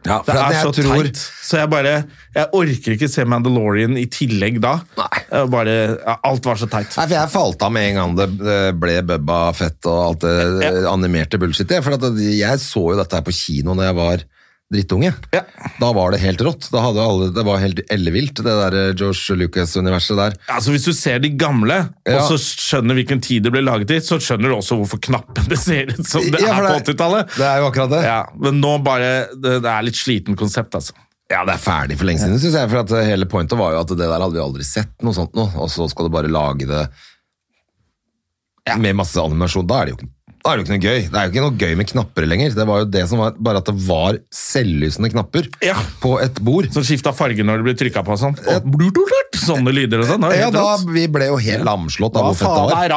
Speaker 2: Ja,
Speaker 1: Det er så teit. Så jeg bare Jeg orker ikke se Mandalorian i tillegg da.
Speaker 2: Nei.
Speaker 1: Jeg Bare, ja, alt var så teit.
Speaker 2: Nei, for Jeg falt av med en gang det eh, ble Bubba Fett og alt det eh, animerte bullshit. jeg, For at det- jeg så jo dette her på kino når jeg var drittunge.
Speaker 1: Ja.
Speaker 2: Da var det helt rått. Da hadde alle, det var helt ellevilt, det der eh, George Lucas-universet der.
Speaker 1: Altså Hvis du ser de gamle,
Speaker 2: Ja.
Speaker 1: og så skjønner hvilken tid det ble laget i, så skjønner du også hvorfor knappene ser ut som det
Speaker 2: Ja,
Speaker 1: er
Speaker 2: for
Speaker 1: på
Speaker 2: det-
Speaker 1: 80-tallet.
Speaker 2: Det er jo akkurat det.
Speaker 1: Ja, men nå bare Det, det er litt sliten konsept, altså.
Speaker 2: Ja, det er ferdig for lenge siden, synes jeg. For at eh, hele pointet var jo at det der hadde vi aldri sett noe sånt nå. Og så skal du bare lage det med masse animasjon. Da er det jo ikke da er det jo ikke noe gøy. Det er jo ikke noe gøy med knapper lenger. Det var jo det som var, bare at det var selvlysende knapper
Speaker 1: Ja.
Speaker 2: på et bord.
Speaker 1: Som skifta farge når det ble trykka på og sånn. Og blututlut, sånne lyder og sånn. det var
Speaker 2: Ja,
Speaker 1: helt
Speaker 2: da
Speaker 1: rått.
Speaker 2: vi ble jo helt lamslått av
Speaker 1: Hva
Speaker 2: hvor fett
Speaker 1: faen
Speaker 2: det var.
Speaker 1: er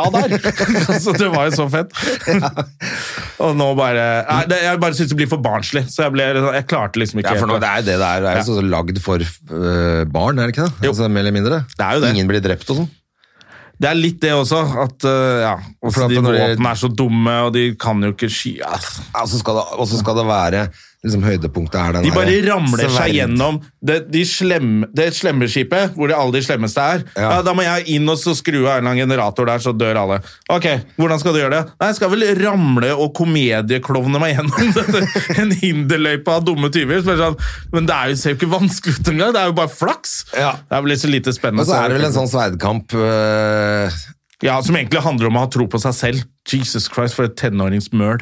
Speaker 2: <laughs>
Speaker 1: radar? så det var jo så fett. og nå bare nei, det, Jeg bare syns det blir for barnslig, så jeg, ble, jeg klarte liksom ikke
Speaker 2: Ja, for nå,
Speaker 1: helt-
Speaker 2: det er jo det det er. Det er jo så lagd for øh, barn, er det ikke det?
Speaker 1: Jo.
Speaker 2: Altså, mer eller mindre.
Speaker 1: Det er jo det.
Speaker 2: Ingen blir drept og sånn.
Speaker 1: Det er litt det også, at eh, ja,
Speaker 2: For
Speaker 1: også
Speaker 2: at
Speaker 1: de
Speaker 2: når de-
Speaker 1: våpnene er så dumme, og de kan jo ikke sky... Ja.
Speaker 2: Ja, så skal det- Og så skal det være liksom, høydepunktet er den
Speaker 1: De bare
Speaker 2: der
Speaker 1: ramler
Speaker 2: sverd-
Speaker 1: seg gjennom det, de slem, det slemmeskipet, hvor det alle de slemmeste er. Ja.
Speaker 2: Ja.
Speaker 1: da må jeg inn og så skru av en eller annen generator der, så dør alle. Ok, hvordan skal du gjøre det? Nei, jeg skal vel ramle og komedieklovne meg gjennom <laughs> dette. en hinderløype av dumme tyver. Så bare sånn, men det er jo, ser jo ikke vanskelig ut engang, det er jo bare flaks.
Speaker 2: Ja.
Speaker 1: Det er vel litt så lite spennende.
Speaker 2: Og så
Speaker 1: så
Speaker 2: er det vel en sånn sverdkamp øh,
Speaker 1: Ja, Som egentlig handler om å ha tro på seg selv. Jesus Christ, for et tenåringsmøl.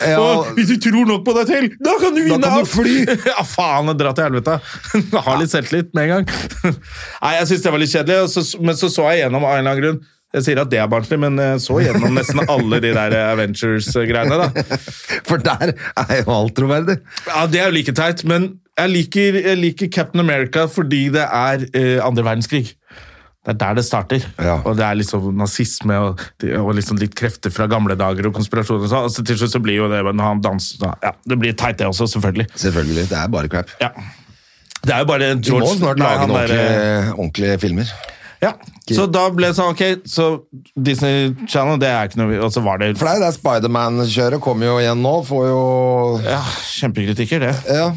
Speaker 2: Ja.
Speaker 1: <laughs> Å, Hvis du tror nok på deg selv, da kan du vinne
Speaker 2: kan du
Speaker 1: alt! <laughs> ja, faen, dra til helvete. <laughs> ha litt selvtillit med en gang. Nei, jeg syns det var litt kjedelig, og så, men så så jeg gjennom av en eller annen grunn Jeg sier at det er barnslig, men jeg så gjennom nesten alle de der eh, Avengers-greiene. da.
Speaker 2: For der er jo alt troverdig.
Speaker 1: Ja, Det er jo like teit, men jeg liker, jeg liker Captain America fordi det er eh, andre verdenskrig. Det er der det starter.
Speaker 2: Ja.
Speaker 1: Og det er liksom nazisme og, og liksom litt krefter fra gamle dager og konspirasjoner. og sånn. Og så til slutt så blir jo det men han danser, da. ja, Det blir teit, det også, selvfølgelig.
Speaker 2: Selvfølgelig. Det er bare crap.
Speaker 1: Ja. Det er jo bare
Speaker 2: Du
Speaker 1: George
Speaker 2: må snart
Speaker 1: la
Speaker 2: lage
Speaker 1: han
Speaker 2: noen
Speaker 1: der- eh,
Speaker 2: ordentlige, ordentlige filmer.
Speaker 1: Ja, så da ble det sånn, ok, så Disney Channel, det er ikke noe vi- Og så var det
Speaker 2: For det er jo det Spiderman-kjøret kommer jo igjen nå. Får jo
Speaker 1: ja, kjempekritikker, det.
Speaker 2: Ja.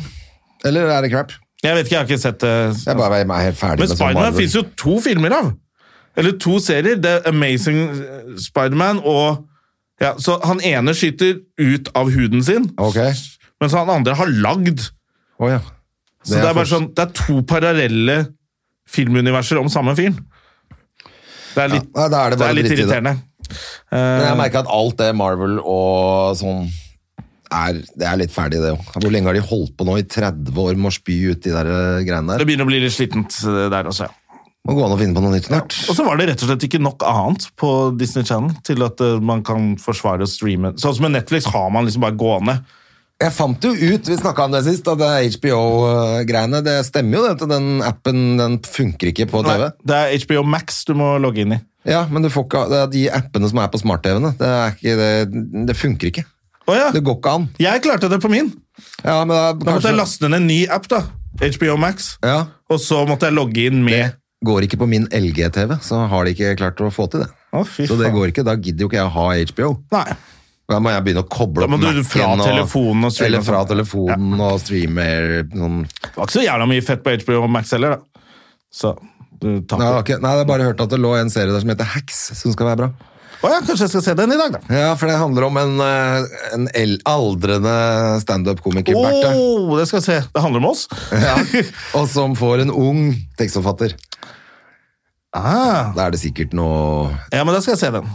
Speaker 2: Eller er det crap?
Speaker 1: Jeg vet ikke, jeg har ikke sett eh, det.
Speaker 2: Jeg bare er helt ferdig
Speaker 1: Men
Speaker 2: med sånn
Speaker 1: Spiderman
Speaker 2: Marvel.
Speaker 1: fins jo to filmer av! Eller to serier. The Amazing eh, Spiderman og ja, Så han ene skyter ut av huden sin,
Speaker 2: Ok.
Speaker 1: mens han andre har lagd.
Speaker 2: Å ja.
Speaker 1: Så det er, bare sånn, det er to parallelle filmuniverser om samme fyren. Det er litt,
Speaker 2: Ja, nei, da er det
Speaker 1: det
Speaker 2: bare
Speaker 1: er litt
Speaker 2: dritt i det.
Speaker 1: irriterende.
Speaker 2: Men jeg merker at alt det Marvel og sånn er, det er litt ferdig, det òg. Hvor lenge har de holdt på nå? I 30 år med å spy ut de der eh, greiene
Speaker 1: Det
Speaker 2: der?
Speaker 1: begynner å bli litt slittent eh, der også, ja.
Speaker 2: Må gå an å finne på noe nytt snart.
Speaker 1: Og så var det rett og slett ikke nok annet på Disney Channel til at eh, man kan forsvare å streame. Sånn som med Netflix har man liksom bare gående.
Speaker 2: Jeg fant jo ut, vi snakka om det sist, at det HBO-greiene Det stemmer jo, det. at Den appen den funker ikke på TV.
Speaker 1: Nei, det er HBO Max du må logge inn i.
Speaker 2: Ja, men du får ikke, det er de appene som er på smart-TV-ene. Det, er ikke- det, det funker ikke.
Speaker 1: Å
Speaker 2: Det
Speaker 1: ja!
Speaker 2: går ikke an.
Speaker 1: Jeg klarte det på min.
Speaker 2: Ja, men da,
Speaker 1: Da måtte jeg
Speaker 2: kanskje,
Speaker 1: laste ned en ny app, da. HBO Max.
Speaker 2: Ja.
Speaker 1: Og så måtte jeg logge inn med
Speaker 2: går ikke på min LG-TV, så har de ikke klart å få til det.
Speaker 1: Å, fy
Speaker 2: så det
Speaker 1: faen.
Speaker 2: går ikke. Da gidder jo ikke jeg å ha HBO.
Speaker 1: Nei.
Speaker 2: Da må jeg begynne å koble
Speaker 1: Da må
Speaker 2: opp
Speaker 1: du fra
Speaker 2: Mac-en
Speaker 1: telefonen og streame
Speaker 2: Eller fra
Speaker 1: sånn.
Speaker 2: telefonen og streame sånn.
Speaker 1: Det var ikke så jævla mye fett på HBO Max heller, da. Så du
Speaker 2: Nei, jeg
Speaker 1: taper.
Speaker 2: har ikke- nei, jeg har bare hørt at det lå en serie der som heter Hacks, som skal være bra.
Speaker 1: Å ja, kanskje jeg skal se den i dag, da.
Speaker 2: Ja, for det handler om en, eh, en el- aldrende standup-komiker,
Speaker 1: Å,
Speaker 2: Berthe.
Speaker 1: det skal jeg se. Det handler om oss.
Speaker 2: Ja, og som får en ung tekstforfatter.
Speaker 1: <laughs> Ah.
Speaker 2: Da er det sikkert noe
Speaker 1: Ja, men da skal jeg se den.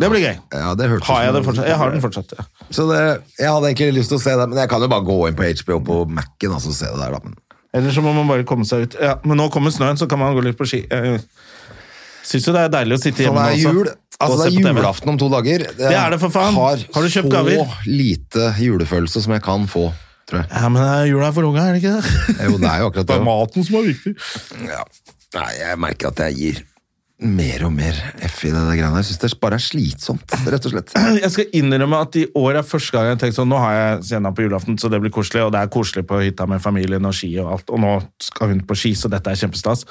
Speaker 1: Det blir gøy.
Speaker 2: Ja, det hørtes
Speaker 1: Har jeg
Speaker 2: noe-
Speaker 1: den fortsatt? Jeg har den fortsatt, ja.
Speaker 2: Så det, jeg hadde egentlig lyst til å se det, men jeg kan jo bare gå inn på HBO på Mac-en altså, og så se det der, da. Men
Speaker 1: Eller så må man bare komme seg ut. Ja, men nå kommer snøen, så kan man gå litt på ski. Jeg Syns jo det er deilig å sitte
Speaker 2: Så det
Speaker 1: hjemme nå
Speaker 2: er
Speaker 1: også.
Speaker 2: jul. Altså,
Speaker 1: og
Speaker 2: det er
Speaker 1: se på TV.
Speaker 2: julaften om to dager.
Speaker 1: Det er det, for faen.
Speaker 2: Har,
Speaker 1: Har du kjøpt
Speaker 2: så
Speaker 1: gaver?
Speaker 2: lite julefølelse som jeg kan få, tror jeg.
Speaker 1: Ja, men det er jula er for unge, er det ikke det?
Speaker 2: Jo, det er jo akkurat
Speaker 1: Det <laughs> er
Speaker 2: det.
Speaker 1: maten som er viktig.
Speaker 2: Ja. Nei, jeg merker at jeg gir mer og mer F i det der greiene. her. Jeg syns det bare er slitsomt, rett og slett.
Speaker 1: <clears throat> Jeg skal innrømme at i år er første gang jeg har tenkt sånn Nå har jeg scenen på julaften, så det blir koselig. Og det er koselig på hytta med familien og ski og alt. Og nå skal hun på ski, så dette er kjempestas.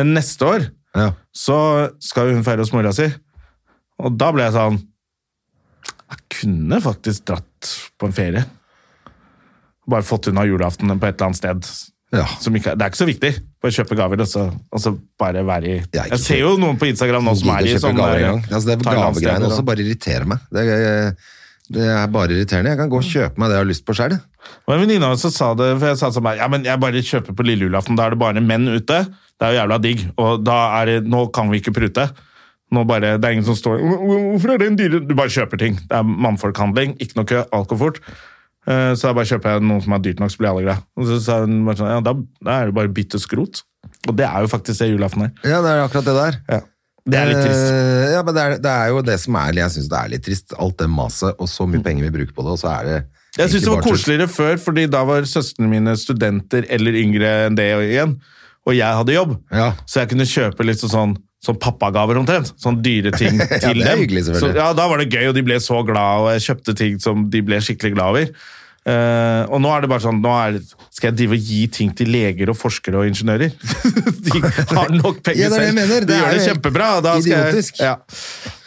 Speaker 1: Men neste år
Speaker 2: Ja.
Speaker 1: så skal hun feire hos mora si. Og da ble jeg sånn Jeg kunne faktisk dratt på en ferie. Bare fått unna julaften på et eller annet sted.
Speaker 2: Ja.
Speaker 1: Som ikke, det er ikke så viktig. Bare kjøpe gaver og så, og så bare være i
Speaker 2: Jeg er ikke
Speaker 1: Jeg ser jo noen på Instagram nå som
Speaker 2: Gidder
Speaker 1: er i
Speaker 2: kjøpe
Speaker 1: sånn
Speaker 2: gaver
Speaker 1: der-
Speaker 2: engang. Altså, det
Speaker 1: Thailand-steder,
Speaker 2: gavegreiene
Speaker 1: da.
Speaker 2: også bare irriterer meg. Det, er- eh, det er bare irriterende. Jeg kan gå og kjøpe meg det jeg har lyst på sjøl.
Speaker 1: Og en venninne av meg som sa det, for jeg sa til meg, ja, men jeg bare kjøper på lille julaften, da er det bare menn ute. Det er jo jævla digg, og da er det, nå kan vi ikke prute. Nå bare, det er ingen som står, "Hvor- hvor- hvorfor er det en dyre? Du bare kjøper ting. Det er mannfolkhandling, ikke noe kø, alt går fort. Eh, Så da bare kjøper jeg noe som er dyrt nok, så blir alle glad. Og så sa hun bare sånn, ja, da, da er det bare å bytte skrot. Og det er jo faktisk det julaften er.
Speaker 2: Ja, det er akkurat det der.
Speaker 1: Det er litt trist.
Speaker 2: Eh, Ja, men det er, det er jo det som er Jeg synes det er litt trist. Alt det maset, og så mye penger vi bruker på det, og så er det
Speaker 1: Mm. Jeg syns
Speaker 2: egentlig
Speaker 1: det var
Speaker 2: bare tull.
Speaker 1: koseligere før, fordi da var søstrene mine studenter eller yngre enn det igjen, og jeg hadde jobb.
Speaker 2: Ja.
Speaker 1: Så jeg kunne kjøpe litt sånn, sånn pappagaver omtrent. Sånn dyre
Speaker 2: <laughs>
Speaker 1: ting til
Speaker 2: det er
Speaker 1: dem.
Speaker 2: hyggelig,
Speaker 1: så,
Speaker 2: selvfølgelig.
Speaker 1: ja, da var det gøy, og de ble så glad, og jeg kjøpte ting som de ble skikkelig glad over. Eh, og nå er det bare sånn nå er, Skal jeg drive og gi ting til leger og forskere og ingeniører? <laughs> de har nok penger
Speaker 2: Ja, det er det jeg
Speaker 1: selv.
Speaker 2: mener. Det
Speaker 1: de
Speaker 2: er
Speaker 1: gjør det
Speaker 2: jo helt
Speaker 1: kjempebra. og Da skal
Speaker 2: idiotisk.
Speaker 1: Jeg, ja.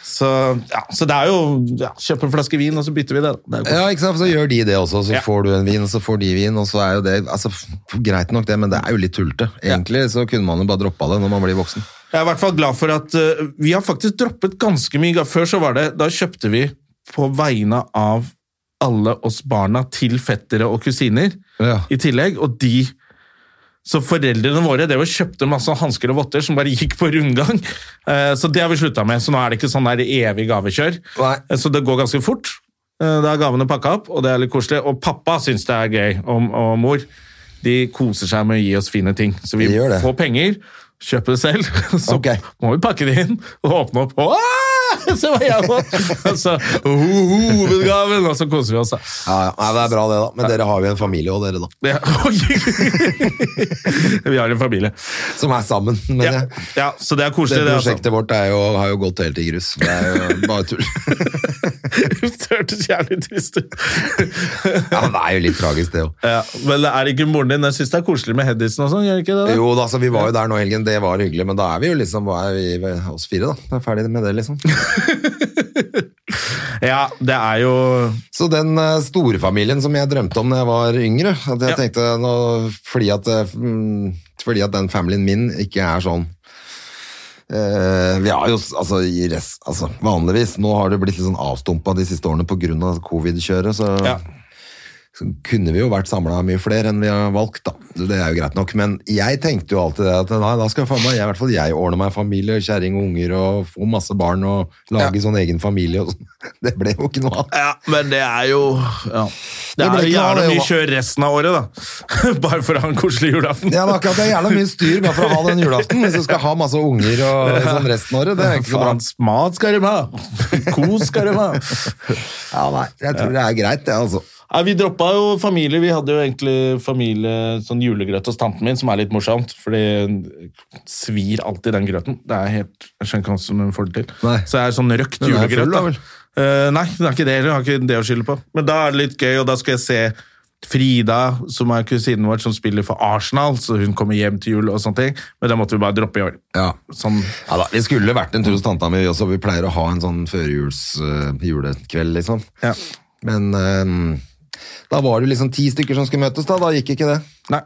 Speaker 1: Så, ja, så det er jo ja, Kjøp en flaske vin, og så bytter vi det. da. det er jo
Speaker 2: Ja, ikke sant? Så gjør de det også, så
Speaker 1: Ja.
Speaker 2: får du en vin, og så får de vin, og så er jo det altså, f- Greit nok, det, men det er jo litt tullete. Egentlig så kunne man jo bare droppa det når man blir voksen.
Speaker 1: Jeg er i hvert fall glad for at eh, vi har faktisk droppet ganske mye. ga- Før så var det, da kjøpte vi på vegne av alle oss barna til fettere og kusiner
Speaker 2: Ja.
Speaker 1: i tillegg, og de så foreldrene våre det var kjøpte masse hansker og votter som bare gikk på rundgang. Eh, Så det har vi slutta med, så nå er det ikke sånn der evig gavekjør.
Speaker 2: Nei.
Speaker 1: Eh, Så det går ganske fort. Eh, Da er gavene pakka opp, og det er litt koselig. Og pappa syns det er gøy, og, og mor. De koser seg med å gi oss fine ting. Så vi
Speaker 2: De gjør det.
Speaker 1: får penger, kjøpe det selv. <laughs> Så
Speaker 2: Ok.
Speaker 1: må vi pakke det inn og åpne opp. Åh! <laughs> Se hva jeg har fått! Og
Speaker 2: <laughs>
Speaker 1: <laughs> så ho- hovedgaven, og så koser vi oss. da.
Speaker 2: Ja, ja. Nei, det er bra det, da. Men dere har jo en familie òg, dere, da.
Speaker 1: Ja. <laughs> vi har en familie.
Speaker 2: Som er sammen, mener
Speaker 1: Ja,
Speaker 2: jeg.
Speaker 1: ja, så det er
Speaker 2: Det
Speaker 1: koselig. Det, altså.
Speaker 2: prosjektet vårt er jo, har jo gått helt i grus. Det er jo bare
Speaker 1: <laughs>
Speaker 2: tull.
Speaker 1: altså. det hørtes jævlig trist ut. <laughs>
Speaker 2: Ja, det er jo litt tragisk, det òg.
Speaker 1: ja, men er ikke moren din Jeg syns det er koselig med Hedison og sånn, gjør det ikke det? da?
Speaker 2: Jo da, altså, vi var jo der nå i helgen, det var hyggelig, men da er vi jo liksom, hva er vi, oss fire da, vi er ferdig med det liksom.
Speaker 1: Ja, det er jo
Speaker 2: Så den eh, storfamilien som jeg drømte om da jeg var yngre, at jeg
Speaker 1: Ja.
Speaker 2: tenkte nå, fordi, at, eh, mm, fordi at den familien min ikke er sånn eh, vi har jo, s- altså, i rest, altså, vanligvis, nå har det blitt litt sånn avstumpa de siste årene på grunn av covid-kjøret, så
Speaker 1: ja.
Speaker 2: så kunne vi jo vært samla mye flere enn vi har valgt, da. Det er jo greit nok. Men jeg tenkte jo alltid det at nei, da skal faen meg jeg, i hvert fall jeg ordne meg familie, kjerring og unger og få masse barn og lage sånn egen familie og sånn. <laughs> Det ble jo ikke noe av.
Speaker 1: ja, men det er jo ja. Det
Speaker 2: Det ble ikke noe av
Speaker 1: er jo jævla
Speaker 2: det,
Speaker 1: mye
Speaker 2: Johan.
Speaker 1: kjør resten av året, da. <laughs> Bare for å ha en koselig julaften.
Speaker 2: Ja, det er akkurat det er jævla mye styr bare for å ha den julaften hvis du skal ha masse unger og <laughs> sånn resten av året. Det er ikke så bra.
Speaker 1: Faens mat skal de ha! Kos skal de <laughs> ha!
Speaker 2: Ja, nei, jeg tror det er greit, det, altså.
Speaker 1: Nei, vi droppa jo familie. Vi hadde jo egentlig familie, sånn julegrøt hos tanten min, som er litt morsomt. For det svir alltid den grøten. Det er helt, Jeg skjønner ikke hvordan hun får det til.
Speaker 2: Nei.
Speaker 1: Så det er sånn røkt
Speaker 2: Den er full,
Speaker 1: julegrøt.
Speaker 2: da
Speaker 1: da.
Speaker 2: vel?
Speaker 1: Eh, nei, det er ikke det. Jeg har ikke det å skylde på. Men da er det litt gøy, og da skal jeg se Frida, som er kusinen vår, som spiller for Arsenal, så hun kommer hjem til jul og sånne ting. Men det måtte vi bare droppe i år.
Speaker 2: Ja.
Speaker 1: Sånn,
Speaker 2: Ja da, Vi skulle vært en tur hos tanta mi også, vi pleier å ha en sånn førjuls-julekveld, liksom.
Speaker 1: ja.
Speaker 2: Men ehm, da var det jo liksom ti stykker som skulle møtes, da. Da gikk ikke det.
Speaker 1: Nei.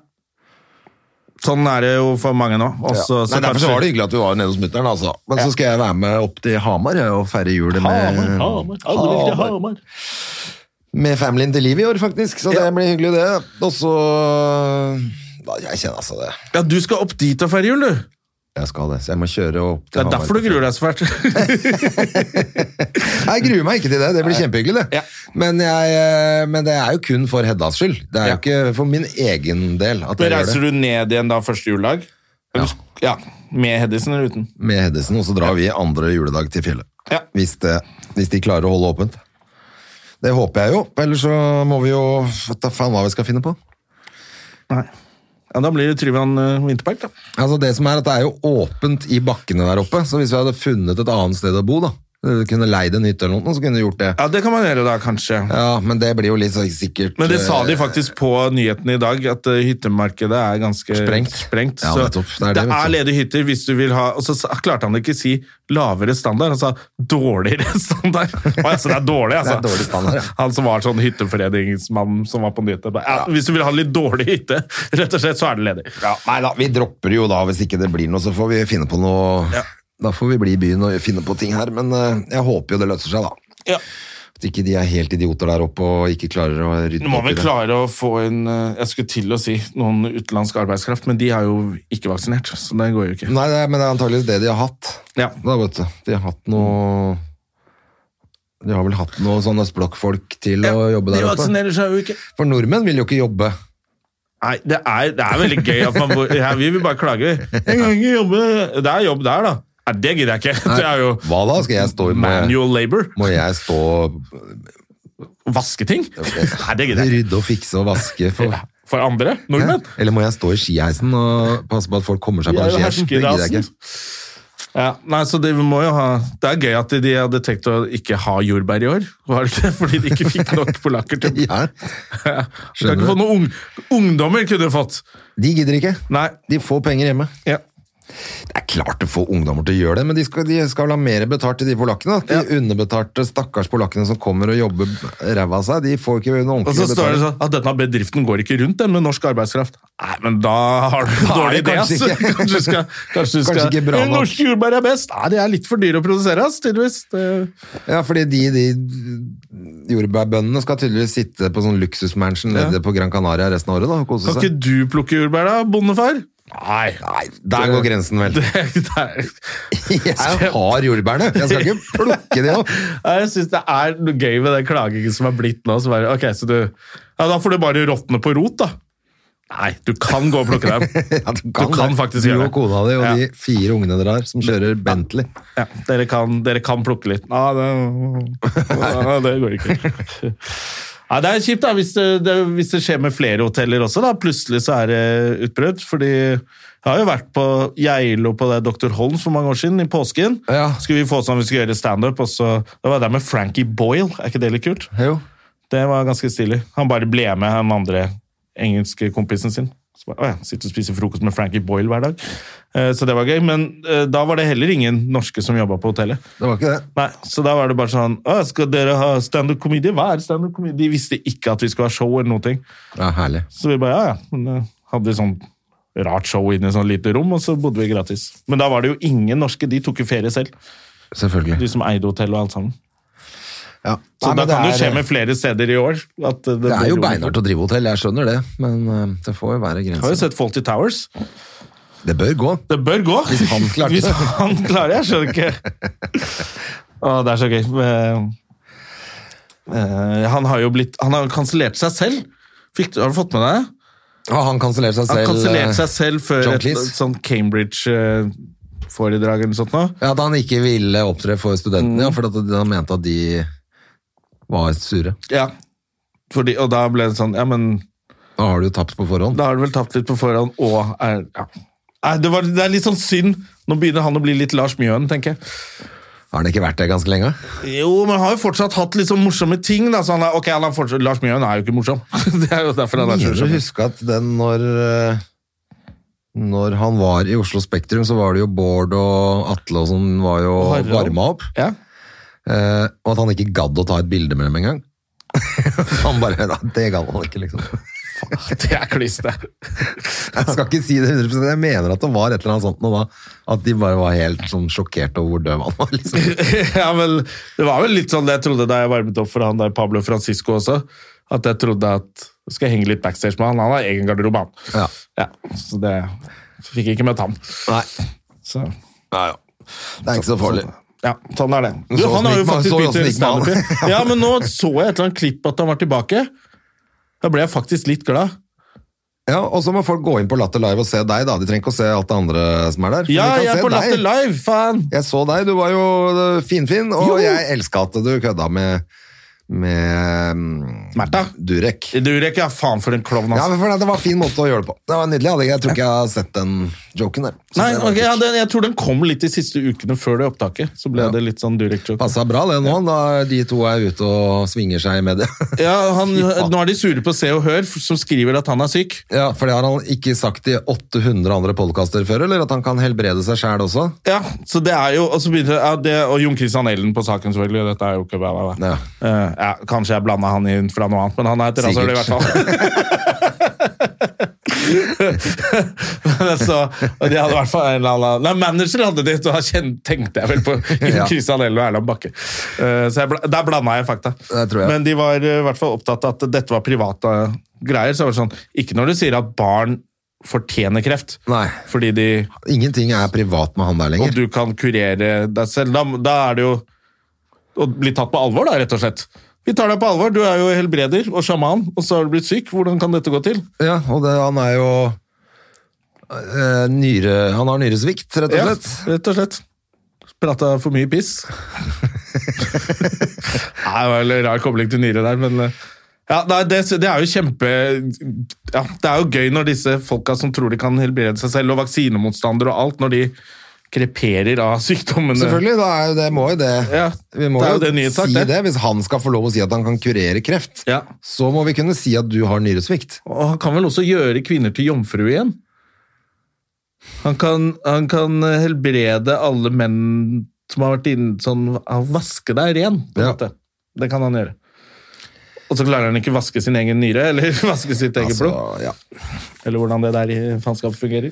Speaker 1: Sånn er det jo for mange nå. Også,
Speaker 2: Nei, derfor så var det hyggelig at vi var nede hos mutter'n, altså. Men så skal jeg være med opp til Hamar jeg, og feire jul
Speaker 1: Hamar,
Speaker 2: med,
Speaker 1: Hamar, aldri til
Speaker 2: Hamar.
Speaker 1: Hamar.
Speaker 2: med familien til liv i år, faktisk. Så det
Speaker 1: Ja.
Speaker 2: blir hyggelig, det. Og så da, Jeg kjenner altså det.
Speaker 1: Ja, du skal opp dit og feire jul, du.
Speaker 2: Jeg skal det, så jeg må kjøre opp til
Speaker 1: Det er derfor du gruer deg så
Speaker 2: <laughs>
Speaker 1: fælt.
Speaker 2: Nei, Jeg gruer meg ikke til det. Det blir kjempehyggelig, det.
Speaker 1: Ja.
Speaker 2: Men, jeg, eh, men det er jo kun for Heddas skyld. Det er
Speaker 1: Ja.
Speaker 2: jo ikke for min egen del at jeg gjør
Speaker 1: Men
Speaker 2: det.
Speaker 1: reiser du ned igjen da første juledag? Eller- ja. Med Hedison eller uten?
Speaker 2: Med Hedesen, og så drar vi andre juledag til fjellet.
Speaker 1: Ja.
Speaker 2: Hvis, det, hvis de klarer å holde åpent. Det håper jeg jo, ellers så må vi jo Vet da faen hva vi skal finne på.
Speaker 1: Nei. Ja, Da blir det Tryvann eh, vinterpark, da.
Speaker 2: Altså Det som er at det er jo åpent i bakkene der oppe, så hvis vi hadde funnet et annet sted å bo, da eh, kunne leid en hytte eller noe, så kunne vi gjort det.
Speaker 1: Ja, Det kan man gjøre da, kanskje.
Speaker 2: Ja, men det blir jo litt så sikkert
Speaker 1: Men det sa de
Speaker 2: eh,
Speaker 1: faktisk på nyhetene i dag, at eh, hyttemarkedet er ganske
Speaker 2: Sprengt.
Speaker 1: sprengt.
Speaker 2: Ja,
Speaker 1: så
Speaker 2: nettopp. Det er
Speaker 1: det er,
Speaker 2: det, vet du.
Speaker 1: ledige hytter hvis du vil ha Og så sa- klarte han ikke si lavere standard, han sa dårligere <laughs> standard. Å, altså, det er dårlig, altså.
Speaker 2: Det er dårlig standard, ja.
Speaker 1: Han som var sånn hytteforeningsmann som var på nyhetene. bare, Ja, Hvis du vil ha litt dårlig hytte, rett og slett, så er det ledig.
Speaker 2: ja, Nei da, vi dropper jo da hvis ikke det blir noe, så får vi finne på noe
Speaker 1: Ja.
Speaker 2: Da får vi bli i byen og finne på ting her, men eh, jeg håper jo det løser seg, da.
Speaker 1: Ja.
Speaker 2: At ikke de er helt idioter der oppe og ikke klarer å rydde
Speaker 1: Du må
Speaker 2: opp i
Speaker 1: vel
Speaker 2: det.
Speaker 1: klare å få inn eh, Jeg skulle til å si noen utenlandsk arbeidskraft, men de er jo ikke vaksinert, så det går jo ikke.
Speaker 2: Nei, det er, men det er antageligvis det de har hatt.
Speaker 1: Ja.
Speaker 2: Da, vet du. De har hatt noe De har vel hatt noe sånn østblokkfolk til å jobbe
Speaker 1: de
Speaker 2: der oppe.
Speaker 1: vaksinerer seg jo ikke.
Speaker 2: For nordmenn vil jo ikke jobbe.
Speaker 1: Nei, det er, det er veldig gøy at man bor ja, Vi vil bare klage.
Speaker 2: <laughs>
Speaker 1: vi. Jeg kan ikke jobbe Det er jobb der, da. Nei, det gidder jeg ikke. Det er jo
Speaker 2: Hva da? Skal jeg stå i må,
Speaker 1: manual labor.
Speaker 2: må jeg stå
Speaker 1: Vaske ting. Nei, det gidder jeg ikke.
Speaker 2: rydde og fikse og vaske for
Speaker 1: For andre nordmenn.
Speaker 2: Hæ? Eller må jeg stå i skiheisen og passe på at folk kommer seg
Speaker 1: Vi
Speaker 2: på
Speaker 1: er
Speaker 2: den
Speaker 1: jo
Speaker 2: skiheisen? Det gidder jeg
Speaker 1: herskerasen.
Speaker 2: ikke.
Speaker 1: Ja, nei, så det, vi må jo ha, det er gøy at de hadde tenkt å ikke ha jordbær i år. Var det ikke? Fordi de ikke fikk nok polakker til
Speaker 2: <laughs> Ja,
Speaker 1: <laughs> Skal ikke få noen ung, ungdommer kunne fått.
Speaker 2: de gidder ikke.
Speaker 1: Nei.
Speaker 2: De får penger hjemme.
Speaker 1: Ja.
Speaker 2: Det er klart å få ungdommer til å gjøre det, men de skal, de skal ha mer betalt til de polakkene. da. De underbetalte stakkars polakkene som kommer og jobber ræva av seg, de får ikke noe
Speaker 1: Og
Speaker 2: ordentlig
Speaker 1: så står det
Speaker 2: betaling.
Speaker 1: sånn at denne bedriften går ikke rundt den med norsk arbeidskraft. Nei, men da har du en
Speaker 2: Da er
Speaker 1: dårlig
Speaker 2: det
Speaker 1: idé, ass.
Speaker 2: kanskje ikke.
Speaker 1: <laughs> Kanskje du skal, kanskje du
Speaker 2: Kanskje
Speaker 1: skal
Speaker 2: ikke bra
Speaker 1: «Eh,
Speaker 2: nok.»
Speaker 1: Norsk jordbær er best! Nei, de er litt for dyre å produsere, ass, tydeligvis. Det,
Speaker 2: Ja, fordi de, de jordbærbøndene skal tydeligvis sitte på sånn luksusmansion nede på Gran Canaria resten av året da, og kose
Speaker 1: kan
Speaker 2: seg.
Speaker 1: ikke du plukke jordbær, da, bondefar? Nei.
Speaker 2: Nei, der går grensen vel.
Speaker 1: <laughs> Det, det er,
Speaker 2: <laughs> Jeg har jordbærene, jeg skal ikke plukke de opp.
Speaker 1: Nei, jeg syns det er noe gøy med den klagingen som er blitt nå. Så bare, ok, så du, ja, da får du bare råtne på rot, da. Nei, du kan gå og plukke dem.
Speaker 2: <laughs> Ja, du kan,
Speaker 1: Du kan
Speaker 2: det.
Speaker 1: faktisk
Speaker 2: du
Speaker 1: gjøre det.
Speaker 2: og kona di og
Speaker 1: Ja.
Speaker 2: de fire ungene dere har, som kjører Bentley.
Speaker 1: Ja, dere, kan, dere kan plukke litt. Nei, det, nei, det går ikke. Nei, det er kjipt da, hvis det, det, hvis det skjer med flere hoteller også. da, Plutselig så er det utbrudd. fordi jeg har jo vært på Geilo på det Dr. Holm for mange år siden, i påsken.
Speaker 2: Ja.
Speaker 1: Skulle vi få sånn vi skulle gjøre standup, og så da var jeg der med Frankie Boyle. Er ikke det litt kult?
Speaker 2: Jo.
Speaker 1: Det var ganske stilig. Han bare ble med han andre engelske kompisen sin. Så bare, «Å ja, Sitter og spiser frokost med Frankie Boyle hver dag. Eh, Så det var gøy. Men eh, da var det heller ingen norske som jobba på hotellet.
Speaker 2: Det var ikke det.
Speaker 1: Nei, Så da var det bare sånn «Å, Skal dere ha standup comedy? Hva er standup comedy? De visste ikke at vi skulle ha show eller noe. ting.
Speaker 2: Ja, herlig.
Speaker 1: Så vi bare ja, ja. Men, eh, hadde sånn rart show inne i sånn lite rom, og så bodde vi gratis. Men da var det jo ingen norske. De tok jo ferie selv, de
Speaker 2: Selvfølgelig.
Speaker 1: som eide hotellet og alt sammen.
Speaker 2: Ja. Nei,
Speaker 1: Så
Speaker 2: men
Speaker 1: da kan det
Speaker 2: er-
Speaker 1: jo skje med flere steder i år. At det,
Speaker 2: Det er
Speaker 1: blir
Speaker 2: jo
Speaker 1: rom for-
Speaker 2: beinhardt å drive hotell, jeg skjønner det, men eh, det får jo være
Speaker 1: Jeg har jo
Speaker 2: grenser.
Speaker 1: sett Faulty Towers.
Speaker 2: Det bør gå.
Speaker 1: Det bør gå. Hvis
Speaker 2: han klarte
Speaker 1: Hvis
Speaker 2: det.
Speaker 1: han klarer det, jeg skjønner ikke. Å, det er så gøy. Eh, eh, han har jo blitt Han har kansellert seg selv. Fikk, du- har du fått med deg det?
Speaker 2: Har han kansellert seg
Speaker 1: Han
Speaker 2: selv? eh,
Speaker 1: kansellerte seg selv før
Speaker 2: John
Speaker 1: et, sånn
Speaker 2: Cleese?
Speaker 1: et sånt Cambridge-foredrag eller noe sånt. Nå.
Speaker 2: Ja, da han ikke ville opptre for studentene,
Speaker 1: Mm.
Speaker 2: ja, for at han mente at de var sure.
Speaker 1: Ja. Fordi, og da ble det sånn Ja, men
Speaker 2: Da har du jo tapt på forhånd.
Speaker 1: Da har du vel tapt litt på forhånd, og er, ja. Nei, det, var, det er litt sånn synd. Nå begynner han å bli litt Lars Mjøen, tenker jeg.
Speaker 2: Har han ikke vært det ganske lenge?
Speaker 1: Jo, men han har jo fortsatt hatt litt sånn morsomme ting. Da. Så han er, ok, han har fortsatt, Lars Mjøen er jo ikke morsom. <laughs> Det er jo derfor han er
Speaker 2: Mener du
Speaker 1: så morsom.
Speaker 2: huske at den når eh, Når han var i Oslo Spektrum, så var det jo Bård og Atle og sånn var jo
Speaker 1: Og Harald.
Speaker 2: varma opp.
Speaker 1: Ja.
Speaker 2: eh, og at han ikke gadd å ta et bilde med dem engang. <laughs> han bare "Nei, Det gadd han ikke, liksom.
Speaker 1: <laughs> Det er kliss, det. <laughs>
Speaker 2: Jeg skal ikke si det 100 Jeg mener at det var et eller annet sånt nå da. At de bare var helt sånn sjokkert over hvor døv han var, <laughs> liksom.
Speaker 1: ja, vel, det var vel litt sånn det jeg trodde da jeg varmet opp for han der Pablo Francisco også. At jeg trodde at skal jeg henge litt backstage med han. Han har egen garderobe, han.
Speaker 2: Ja.
Speaker 1: Ja, så det så fikk jeg ikke møtt han.
Speaker 2: Nei,
Speaker 1: Så,
Speaker 2: det er ikke så farlig.
Speaker 1: ja, sånn er det. Du,
Speaker 2: Så
Speaker 1: han har jo
Speaker 2: snikk-
Speaker 1: faktisk
Speaker 2: så
Speaker 1: begynt å gjøre
Speaker 2: snikk-
Speaker 1: standup. igjen. <laughs> Ja, men nå så jeg et eller annet klipp at han var tilbake. Da ble jeg faktisk litt glad.
Speaker 2: Ja, og så må folk gå inn på Latter Live og se deg, da. De trenger ikke å se alt det andre som er der. Men
Speaker 1: Ja,
Speaker 2: de kan
Speaker 1: jeg er
Speaker 2: se
Speaker 1: på
Speaker 2: deg.
Speaker 1: Latter Live, faen!
Speaker 2: Jeg så deg, du var jo eh, finfin, og
Speaker 1: Jo.
Speaker 2: jeg elska at du kødda med, med mm,
Speaker 1: Märtha.
Speaker 2: Durek.
Speaker 1: Durek, ja, faen for en klovn,
Speaker 2: Ja,
Speaker 1: altså.
Speaker 2: men for det, det var en fin måte å gjøre det på. Det var nydelig. Jeg hadde- Jeg tror ikke jeg har sett den joken der. Så
Speaker 1: Nei,
Speaker 2: det var
Speaker 1: ok,
Speaker 2: kult.
Speaker 1: ja, den, Jeg tror den kom litt de siste ukene før det opptaket. Så ble
Speaker 2: Ja.
Speaker 1: det litt sånn Durek-joke.
Speaker 2: Passa bra det nå, da de to er ute og svinger seg med det.
Speaker 1: Ja, han,
Speaker 2: Fy faen.
Speaker 1: Nå er de sure på Se og Hør, f- som skriver at han er syk.
Speaker 2: <laughs> Ja, for det har han ikke sagt i 800 andre podkaster før, eller at han kan helbrede seg sjæl også?
Speaker 1: Ja, så det er jo, Og, så begynte, ja, det, og Jon Christian Ellen på saken, selvfølgelig. Dette er jo ikke bla, bla, bla.
Speaker 2: Ja.
Speaker 1: Eh, ja, kanskje jeg blanda han inn fra noe annet, men han er et rasshøl i hvert
Speaker 2: Sikkert.
Speaker 1: fall. <laughs> Men så, og de hadde i hvert fall en eller annen Nei, manager hadde de, så da kjen- tenkte jeg vel på Jon
Speaker 2: <laughs> Ja.
Speaker 1: Christian Ellen og Erland Bakke. Eh, så jeg, bla- der blanda jeg fakta.
Speaker 2: Det tror jeg.
Speaker 1: Men de var eh, i hvert fall opptatt av at dette var private greier. Så det var sånn, Ikke når du sier at barn fortjener kreft,
Speaker 2: Nei.
Speaker 1: fordi de
Speaker 2: Ingenting er privat med han der
Speaker 1: og
Speaker 2: lenger.
Speaker 1: du kan kurere deg selv. Da, da er det jo å bli tatt på alvor, da, rett og slett. Vi tar deg på alvor. Du er jo helbreder og sjaman, og så har du blitt syk. Hvordan kan dette gå til?
Speaker 2: Ja, og det, han er jo eh, nyre, Han har nyresvikt, rett og
Speaker 1: Ja,
Speaker 2: slett.
Speaker 1: rett og slett. Prata for mye
Speaker 2: <laughs>
Speaker 1: piss. Nei, det var en rar kobling til nyre der, men eh, ja, nei, det, det er jo kjempe ja, Det er jo gøy når disse folka som tror de kan helbrede seg selv, og vaksinemotstandere og alt, når de kreperer av sykdommene.
Speaker 2: Selvfølgelig, da er jo det, må jo det.
Speaker 1: Ja,
Speaker 2: Vi må
Speaker 1: det er
Speaker 2: jo
Speaker 1: jo det nyhetssak,
Speaker 2: si det.
Speaker 1: det.
Speaker 2: Hvis han skal få lov å si at han kan kurere kreft,
Speaker 1: Ja.
Speaker 2: så må vi kunne si at du har nyresvikt.
Speaker 1: Og han kan vel også gjøre kvinner til jomfru igjen? Han kan, han kan helbrede alle menn som har vært inne sånn Han vaske deg ren, på en
Speaker 2: Ja.
Speaker 1: måte. Det kan han gjøre. Og så klarer han ikke vaske sin egen nyre, eller <laughs> vaske sitt eget
Speaker 2: Altså,
Speaker 1: blod.
Speaker 2: ja.
Speaker 1: Eller hvordan det der i faenskapet fungerer.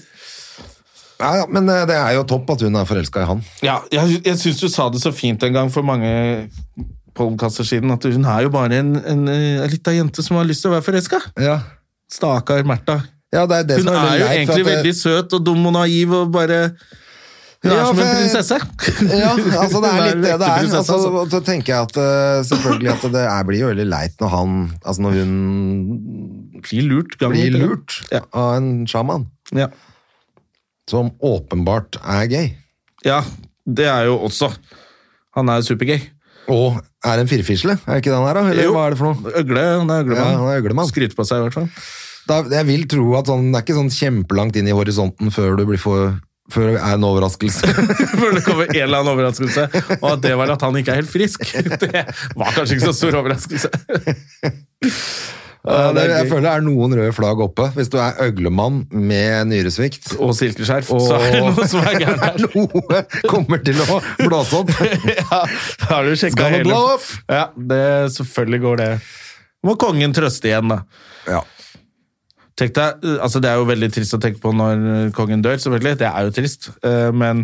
Speaker 2: Ja, ja, men eh, det er jo topp at hun er forelska i han.
Speaker 1: Ja, jeg, jeg syns du sa det så fint en gang for mange podkaster siden, at hun er jo bare en, en, eh, lita jente som har lyst til å være forelska.
Speaker 2: Ja,
Speaker 1: Stakkar Märtha.
Speaker 2: ja det er det
Speaker 1: Hun
Speaker 2: som er,
Speaker 1: er
Speaker 2: veldig leit,
Speaker 1: jo
Speaker 2: for
Speaker 1: egentlig
Speaker 2: at det-
Speaker 1: veldig søt og dum og naiv og bare Hun er
Speaker 2: Ja,
Speaker 1: som
Speaker 2: for
Speaker 1: en
Speaker 2: jeg- <laughs>
Speaker 1: prinsesse.
Speaker 2: Ja, altså det
Speaker 1: <laughs> Hun
Speaker 2: er litt det
Speaker 1: en
Speaker 2: det
Speaker 1: ekte
Speaker 2: er.
Speaker 1: prinsesse,
Speaker 2: Altså,
Speaker 1: altså.
Speaker 2: og så tenker jeg at eh, selvfølgelig at det er, blir jo veldig leit når han Altså når hun
Speaker 1: blir lurt. gang
Speaker 2: Bli
Speaker 1: etter gang.
Speaker 2: lurt
Speaker 1: Ja.
Speaker 2: av en sjaman
Speaker 1: Ja.
Speaker 2: som åpenbart er gay.
Speaker 1: ja, det er jo også. Han er supergay.
Speaker 2: Og er en firfisle, er ikke det han er, da? Eller
Speaker 1: Jo.
Speaker 2: hva er det for noe?
Speaker 1: Øgle, han er øglemann.
Speaker 2: Ja, han er øglemann.
Speaker 1: Skryter på seg, i hvert fall. <laughs>
Speaker 2: Da, jeg vil tro at sånn, det er ikke sånn kjempelangt inn i horisonten før du blir for før det er en
Speaker 1: <laughs>
Speaker 2: overraskelse.
Speaker 1: Før det kommer en eller annen overraskelse. Og at det var at han ikke er helt frisk. <laughs> Det var kanskje ikke så stor overraskelse.
Speaker 2: Ja, det,
Speaker 1: det er
Speaker 2: <laughs> jeg
Speaker 1: gøy.
Speaker 2: føler det er noen røde flagg oppe. Hvis du er øglemann med nyresvikt,
Speaker 1: Og silkeskjerf, så er det noe som er gærent her.
Speaker 2: noe kommer til å blåse opp.
Speaker 1: <laughs> Ja, da har du sjekka
Speaker 2: Skal det
Speaker 1: hele
Speaker 2: blå opp?
Speaker 1: Ja, det, selvfølgelig går det. Må kongen trøste igjen, da.
Speaker 2: Ja.
Speaker 1: Tenk deg, eh, altså Det er jo veldig trist å tenke på når eh, kongen dør, selvfølgelig. Det er jo trist. Eh, Men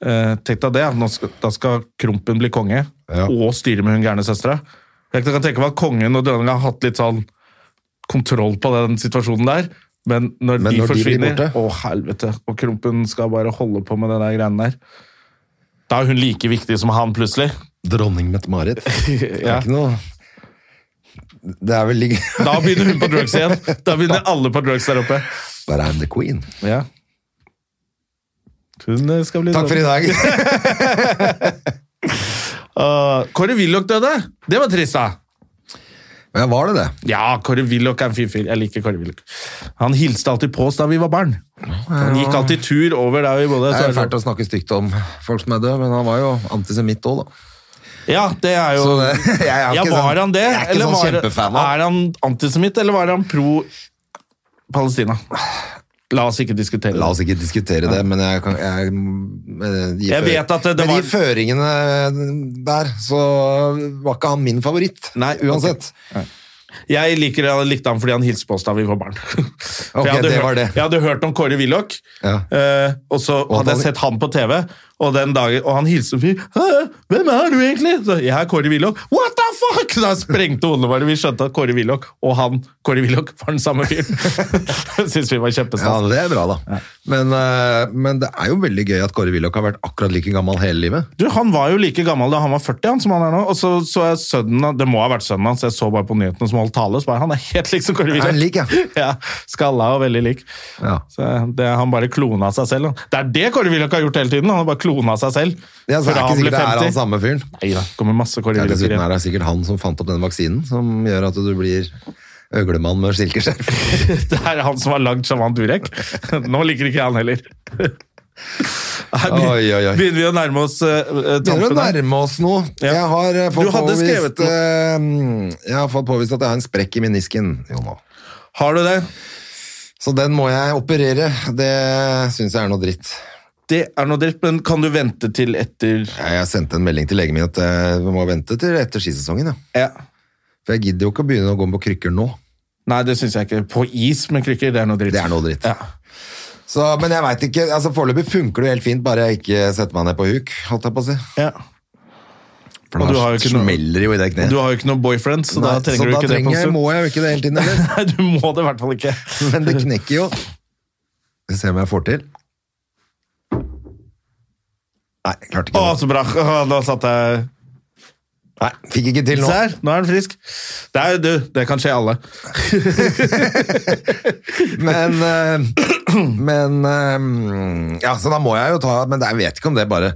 Speaker 1: eh, tenk deg det. at Nå skal, da skal Krompen bli konge,
Speaker 2: Ja.
Speaker 1: og styre med hun gærne søstera. Jeg kan tenke meg at kongen og dronninga har hatt litt sånn kontroll på den situasjonen der. Men
Speaker 2: Men
Speaker 1: når
Speaker 2: når
Speaker 1: de
Speaker 2: de blir
Speaker 1: forsvinner
Speaker 2: borte?
Speaker 1: Å, helvete. Og Krompen skal bare holde på med den der greiene der. Da er hun like viktig som han, plutselig.
Speaker 2: Dronning Mette-Marit. Det er
Speaker 1: Ja.
Speaker 2: ikke noe Det er vel like
Speaker 1: Da begynner hun på drugs igjen. Da begynner alle på drugs der oppe.
Speaker 2: But I'm the queen.
Speaker 1: Ja. Hun eh, skal bli
Speaker 2: Takk for i
Speaker 1: <laughs>
Speaker 2: dag.
Speaker 1: Ah, Kåre Willoch døde! Det var trist, da.
Speaker 2: Ja, var det det?
Speaker 1: Ja, Kåre Willoch er en fin fyr. Jeg liker Kåre Willoch. Han hilste alltid på oss da vi var barn. Han gikk alltid tur over der vi
Speaker 2: Det
Speaker 1: bodde. så
Speaker 2: er
Speaker 1: er
Speaker 2: jo
Speaker 1: det
Speaker 2: fælt å snakke stygt om folk som er døde, men han var jo antisemitt òg, da.
Speaker 1: sånn- Ja, det er jo
Speaker 2: Så det, <laughs> jeg er
Speaker 1: Ja,
Speaker 2: ikke
Speaker 1: var
Speaker 2: sånn-
Speaker 1: han det?
Speaker 2: Jeg er ikke
Speaker 1: Eller
Speaker 2: sånn
Speaker 1: var,
Speaker 2: kjempefan av
Speaker 1: er han antisemitt, eller var han pro Palestina? La oss ikke diskutere det.
Speaker 2: La oss ikke diskutere det, men jeg kan jeg, eh, gi
Speaker 1: Jeg
Speaker 2: føring-
Speaker 1: vet at det- det
Speaker 2: Med
Speaker 1: var-
Speaker 2: de føringene der, så var ikke han min favoritt.
Speaker 1: Nei, ok.
Speaker 2: uansett.
Speaker 1: Jeg liker, jeg likte ham fordi han hilste på oss da vi var barn. <laughs> For jeg, hadde
Speaker 2: det var
Speaker 1: hørt,
Speaker 2: det.
Speaker 1: jeg hadde hørt om Kåre Willoch,
Speaker 2: Ja.
Speaker 1: eh, og så
Speaker 2: Og
Speaker 1: hadde jeg
Speaker 2: han-
Speaker 1: sett han på TV, og, den dagen, og han hilste fyr. Hvem er du egentlig? Så, jeg er Kåre Willoch. What the fuck?! Da sprengte hodene våre. Vi skjønte at Kåre Willoch og han Kåre Willoch var den samme fyren. <laughs> Det syns vi var
Speaker 2: Ja,
Speaker 1: kjempestas.
Speaker 2: det er bra, da. Men, eh, men det er jo veldig gøy at Kåre Willoch har vært akkurat like gammel hele livet.
Speaker 1: Du, Han var jo like gammel da han var 40, han som han er nå. Og så så jeg sønnen av- Det må ha vært sønnen hans, jeg så bare på nyhetene som holdt tale. så bare Han er helt lik som Kåre
Speaker 2: Er
Speaker 1: Willoch.
Speaker 2: han lik, ja?
Speaker 1: <laughs> ja, skalla og veldig lik.
Speaker 2: Ja.
Speaker 1: Så det, han bare klona seg selv. han. Det er det Kåre Willoch har gjort hele tiden! Han har bare klona seg selv.
Speaker 2: Ja, så
Speaker 1: Før
Speaker 2: det er
Speaker 1: han
Speaker 2: ikke
Speaker 1: ble
Speaker 2: sikkert det er
Speaker 1: 50.
Speaker 2: han samme fyren.
Speaker 1: Nei da, kommer masse Kåre
Speaker 2: Ja,
Speaker 1: Willoch
Speaker 2: dessuten er
Speaker 1: igjen.
Speaker 2: det sikkert han som fant opp denne vaksinen, som gjør at du blir øglemann med
Speaker 1: <laughs>
Speaker 2: silkeskjerf.
Speaker 1: Det er han som har lagd Shaman Durek. <laughs> Nå liker ikke han heller. <laughs> Her begyn-
Speaker 2: Oi, oi, oi.
Speaker 1: Begynner vi å nærme oss eh, eh,
Speaker 2: Begynner å
Speaker 1: tampen? her?
Speaker 2: nærme oss noe.
Speaker 1: Ja.
Speaker 2: Jeg, har eh,
Speaker 1: Du
Speaker 2: fått
Speaker 1: hadde skrevet
Speaker 2: påvist, eh, jeg har fått påvist at jeg har en sprekk i menisken. Jo, nå.
Speaker 1: Har du det?
Speaker 2: Så den må jeg operere. Det syns jeg er noe dritt.
Speaker 1: Det er noe dritt, men kan du vente til etter
Speaker 2: Jeg jeg sendte en melding til legen min at eh, vi må vente til etter skisesongen. Ja.
Speaker 1: ja.
Speaker 2: For jeg gidder jo ikke å begynne å gå på krykker nå.
Speaker 1: Nei, det syns jeg ikke. På is med krykker, det er noe dritt.
Speaker 2: Det er noe dritt.
Speaker 1: Ja.
Speaker 2: Så, men jeg veit ikke. altså Foreløpig funker det jo helt fint, bare jeg ikke setter meg ned på huk. holdt jeg på å si.
Speaker 1: Ja.
Speaker 2: For
Speaker 1: Og du
Speaker 2: da
Speaker 1: har jo ikke noe-
Speaker 2: smeller det jo i det
Speaker 1: Du
Speaker 2: kneet.
Speaker 1: har jo ikke noe boyfriend, så da
Speaker 2: Nei,
Speaker 1: trenger
Speaker 2: så da
Speaker 1: du ikke det. på
Speaker 2: trenger
Speaker 1: en
Speaker 2: jeg,
Speaker 1: stund.
Speaker 2: må jeg jo ikke det hele tiden heller.
Speaker 1: <laughs> Nei, du må det i hvert fall ikke.
Speaker 2: Men det knekker jo. Vi ser om jeg får til. Nei, jeg klarte
Speaker 1: Å,
Speaker 2: ikke det.
Speaker 1: så bra. Å, Da satt jeg
Speaker 2: Nei, fikk ikke til nå.
Speaker 1: Se her, nå er han frisk. Det er jo du, det kan skje alle.
Speaker 2: Men, eh, <clears throat> men eh, Ja, så da må jeg jo ta Men jeg vet ikke om det bare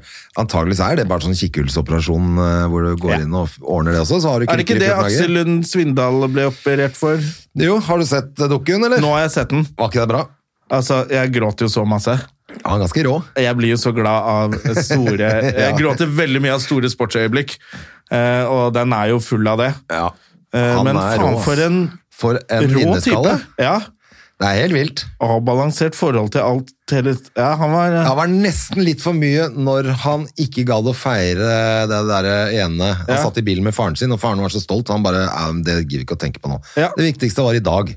Speaker 2: Antageligvis er det bare sånn kikkhullsoperasjon eh, hvor du går
Speaker 1: Ja.
Speaker 2: inn og ordner det også, så har du
Speaker 1: Er det
Speaker 2: krykker i
Speaker 1: ikke det
Speaker 2: 14
Speaker 1: Aksel
Speaker 2: dager.
Speaker 1: Lund Svindal ble operert for?
Speaker 2: Jo, har du sett eh, dukken, eller?
Speaker 1: Nå har jeg sett den.
Speaker 2: Var ikke det bra?
Speaker 1: Altså, jeg gråter jo så masse.
Speaker 2: Ja, han er ganske rå.
Speaker 1: Jeg blir jo så glad av store <laughs> Jeg gråter veldig mye av store sportsøyeblikk, eh, og den er jo full av det.
Speaker 2: Ja.
Speaker 1: Eh,
Speaker 2: Han
Speaker 1: Men
Speaker 2: er
Speaker 1: faen,
Speaker 2: rå,
Speaker 1: for
Speaker 2: ass.
Speaker 1: en
Speaker 2: For en
Speaker 1: rå type.
Speaker 2: vinnerskalle.
Speaker 1: Ja.
Speaker 2: Det er helt vilt.
Speaker 1: Avbalansert forhold til alt hele Ja, han var
Speaker 2: Han var nesten litt for mye når han ikke gadd å feire det der ene. Han
Speaker 1: Ja.
Speaker 2: satt i bilen med faren sin, og faren var så stolt. Han bare "Ja, men Det gidder vi ikke å tenke på nå.
Speaker 1: Ja.
Speaker 2: Det viktigste var i dag.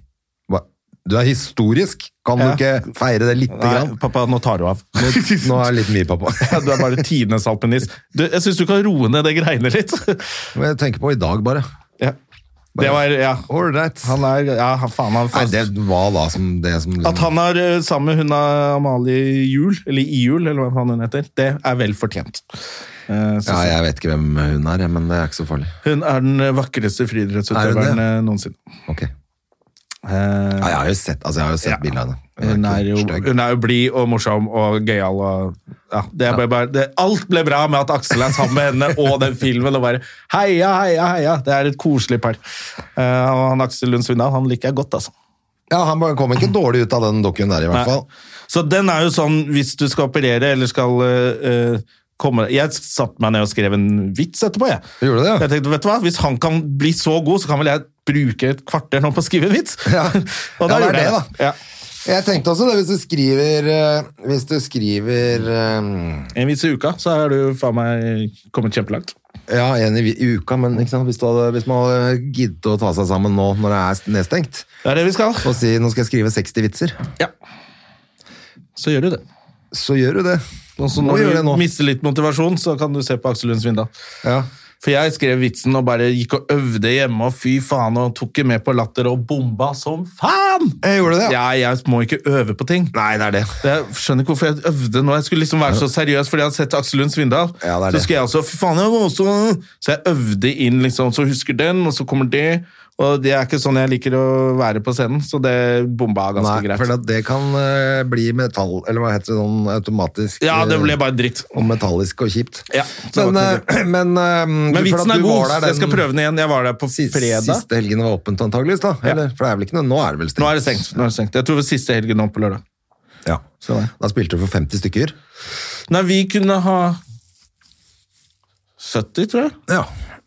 Speaker 2: Ba- Du er historisk. Kan
Speaker 1: Ja.
Speaker 2: du ikke feire det lite
Speaker 1: Nei,
Speaker 2: grann?
Speaker 1: pappa, nå tar du av.
Speaker 2: <laughs> Nå er det litt mye, pappa.
Speaker 1: Ja, Du er bare tidenes alpinist. Du, jeg syns du kan roe ned det greiene litt.
Speaker 2: <laughs> Men jeg tenker på i dag, bare.
Speaker 1: Ja. Det var Ja.
Speaker 2: All right.
Speaker 1: Han er Ja, han- faen, han
Speaker 2: Nei, det var da som det som liksom-
Speaker 1: At han er eh, sammen med hun av Amalie Juel, eller Ihjul, eller hva faen hun heter, det er vel fortjent. Eh,
Speaker 2: Ja,
Speaker 1: så-
Speaker 2: jeg vet ikke hvem hun er, jeg, men det er ikke så farlig.
Speaker 1: Hun er den vakreste
Speaker 2: Er hun det?
Speaker 1: friidrettsutøveren eh, noensinne.
Speaker 2: Ok.
Speaker 1: Eh,
Speaker 2: Ja, jeg har jo sett, altså, jeg har jo sett
Speaker 1: Ja.
Speaker 2: bildet av henne.
Speaker 1: Hun er, jo,
Speaker 2: stygg.
Speaker 1: hun er jo blid og morsom og gøyal. og- Ja, det ble bare, det, alt ble bra med at Aksel er sammen med henne og den filmen. og bare Heia, heia, heia! Det er et koselig par. Eh, og han Aksel Lund Svindal han liker jeg godt, altså.
Speaker 2: Ja, han bare kom
Speaker 1: <clears throat>
Speaker 2: ikke dårlig ut av den dokken der, i hvert fall.
Speaker 1: Så den er jo sånn, hvis du skal operere eller skal eh, eh, komme Jeg satte meg ned og skrev en vits etterpå, jeg.
Speaker 2: Gjorde du det, ja?
Speaker 1: Jeg tenkte, vet du hva, hvis han kan bli så god, så kan vel jeg bruke et kvarter nå på å skrive en vits?
Speaker 2: Ja.
Speaker 1: <laughs>
Speaker 2: Ja,
Speaker 1: og da
Speaker 2: det er
Speaker 1: gjorde jeg
Speaker 2: det, da.
Speaker 1: Ja.
Speaker 2: Jeg tenkte også det, hvis du skriver eh, Hvis du skriver eh,
Speaker 1: En vits i uka, så er du faen meg kommet kjempelangt.
Speaker 2: Ja, en i vi- i uka, men ikke sant? Hvis, du hadde, hvis man hadde giddet å ta seg sammen nå når det er nedstengt,
Speaker 1: Det er det vi skal.
Speaker 2: og si nå skal jeg skrive 60 vitser,
Speaker 1: Ja. Så gjør du det.
Speaker 2: så gjør du det.
Speaker 1: Og så
Speaker 2: Nå
Speaker 1: Sånn når
Speaker 2: gjør jeg
Speaker 1: du
Speaker 2: nå.
Speaker 1: mister litt motivasjon, så kan du se på Aksel Lund Svindal.
Speaker 2: Ja.
Speaker 1: For jeg skrev vitsen og bare gikk og øvde hjemme, og fy faen, og tok ikke med på latter og bomba som faen!
Speaker 2: Jeg gjorde det, ja.
Speaker 1: Ja, jeg må ikke øve på ting.
Speaker 2: Nei, det er det.
Speaker 1: Jeg skjønner ikke hvorfor jeg øvde nå. Jeg skulle liksom være så seriøs fordi jeg hadde sett Aksel Lund Svindal.
Speaker 2: Ja, det er
Speaker 1: så
Speaker 2: det.
Speaker 1: skulle jeg også, fy faen, jeg må også... Så jeg øvde inn liksom, så husker den, og så kommer det. Og det er ikke sånn jeg liker å være på scenen, så det bomba ganske
Speaker 2: Nei,
Speaker 1: greit.
Speaker 2: for at det kan eh, bli metall, eller hva heter det sånn automatisk
Speaker 1: Ja, det ble
Speaker 2: eh,
Speaker 1: bare dritt.
Speaker 2: og metallisk og kjipt.
Speaker 1: Ja, så
Speaker 2: men,
Speaker 1: det
Speaker 2: eh, <clears throat> men, eh, du-
Speaker 1: Men
Speaker 2: for at
Speaker 1: vitsen er
Speaker 2: du
Speaker 1: god,
Speaker 2: var der
Speaker 1: så jeg skal
Speaker 2: den
Speaker 1: prøve den igjen. Jeg var der på
Speaker 2: si-
Speaker 1: fredag.
Speaker 2: Siste helgen var åpent antageligvis, da.
Speaker 1: Ja.
Speaker 2: Eller, for det er vel ikke noe, nå er det vel stengt.
Speaker 1: Nå er det stengt. Nå er det stengt. Jeg tror det var siste helgen nå på lørdag.
Speaker 2: Ja.
Speaker 1: Så det.
Speaker 2: Da spilte du for 50 stykker.
Speaker 1: Nei, vi kunne ha 70, tror jeg.
Speaker 2: Ja.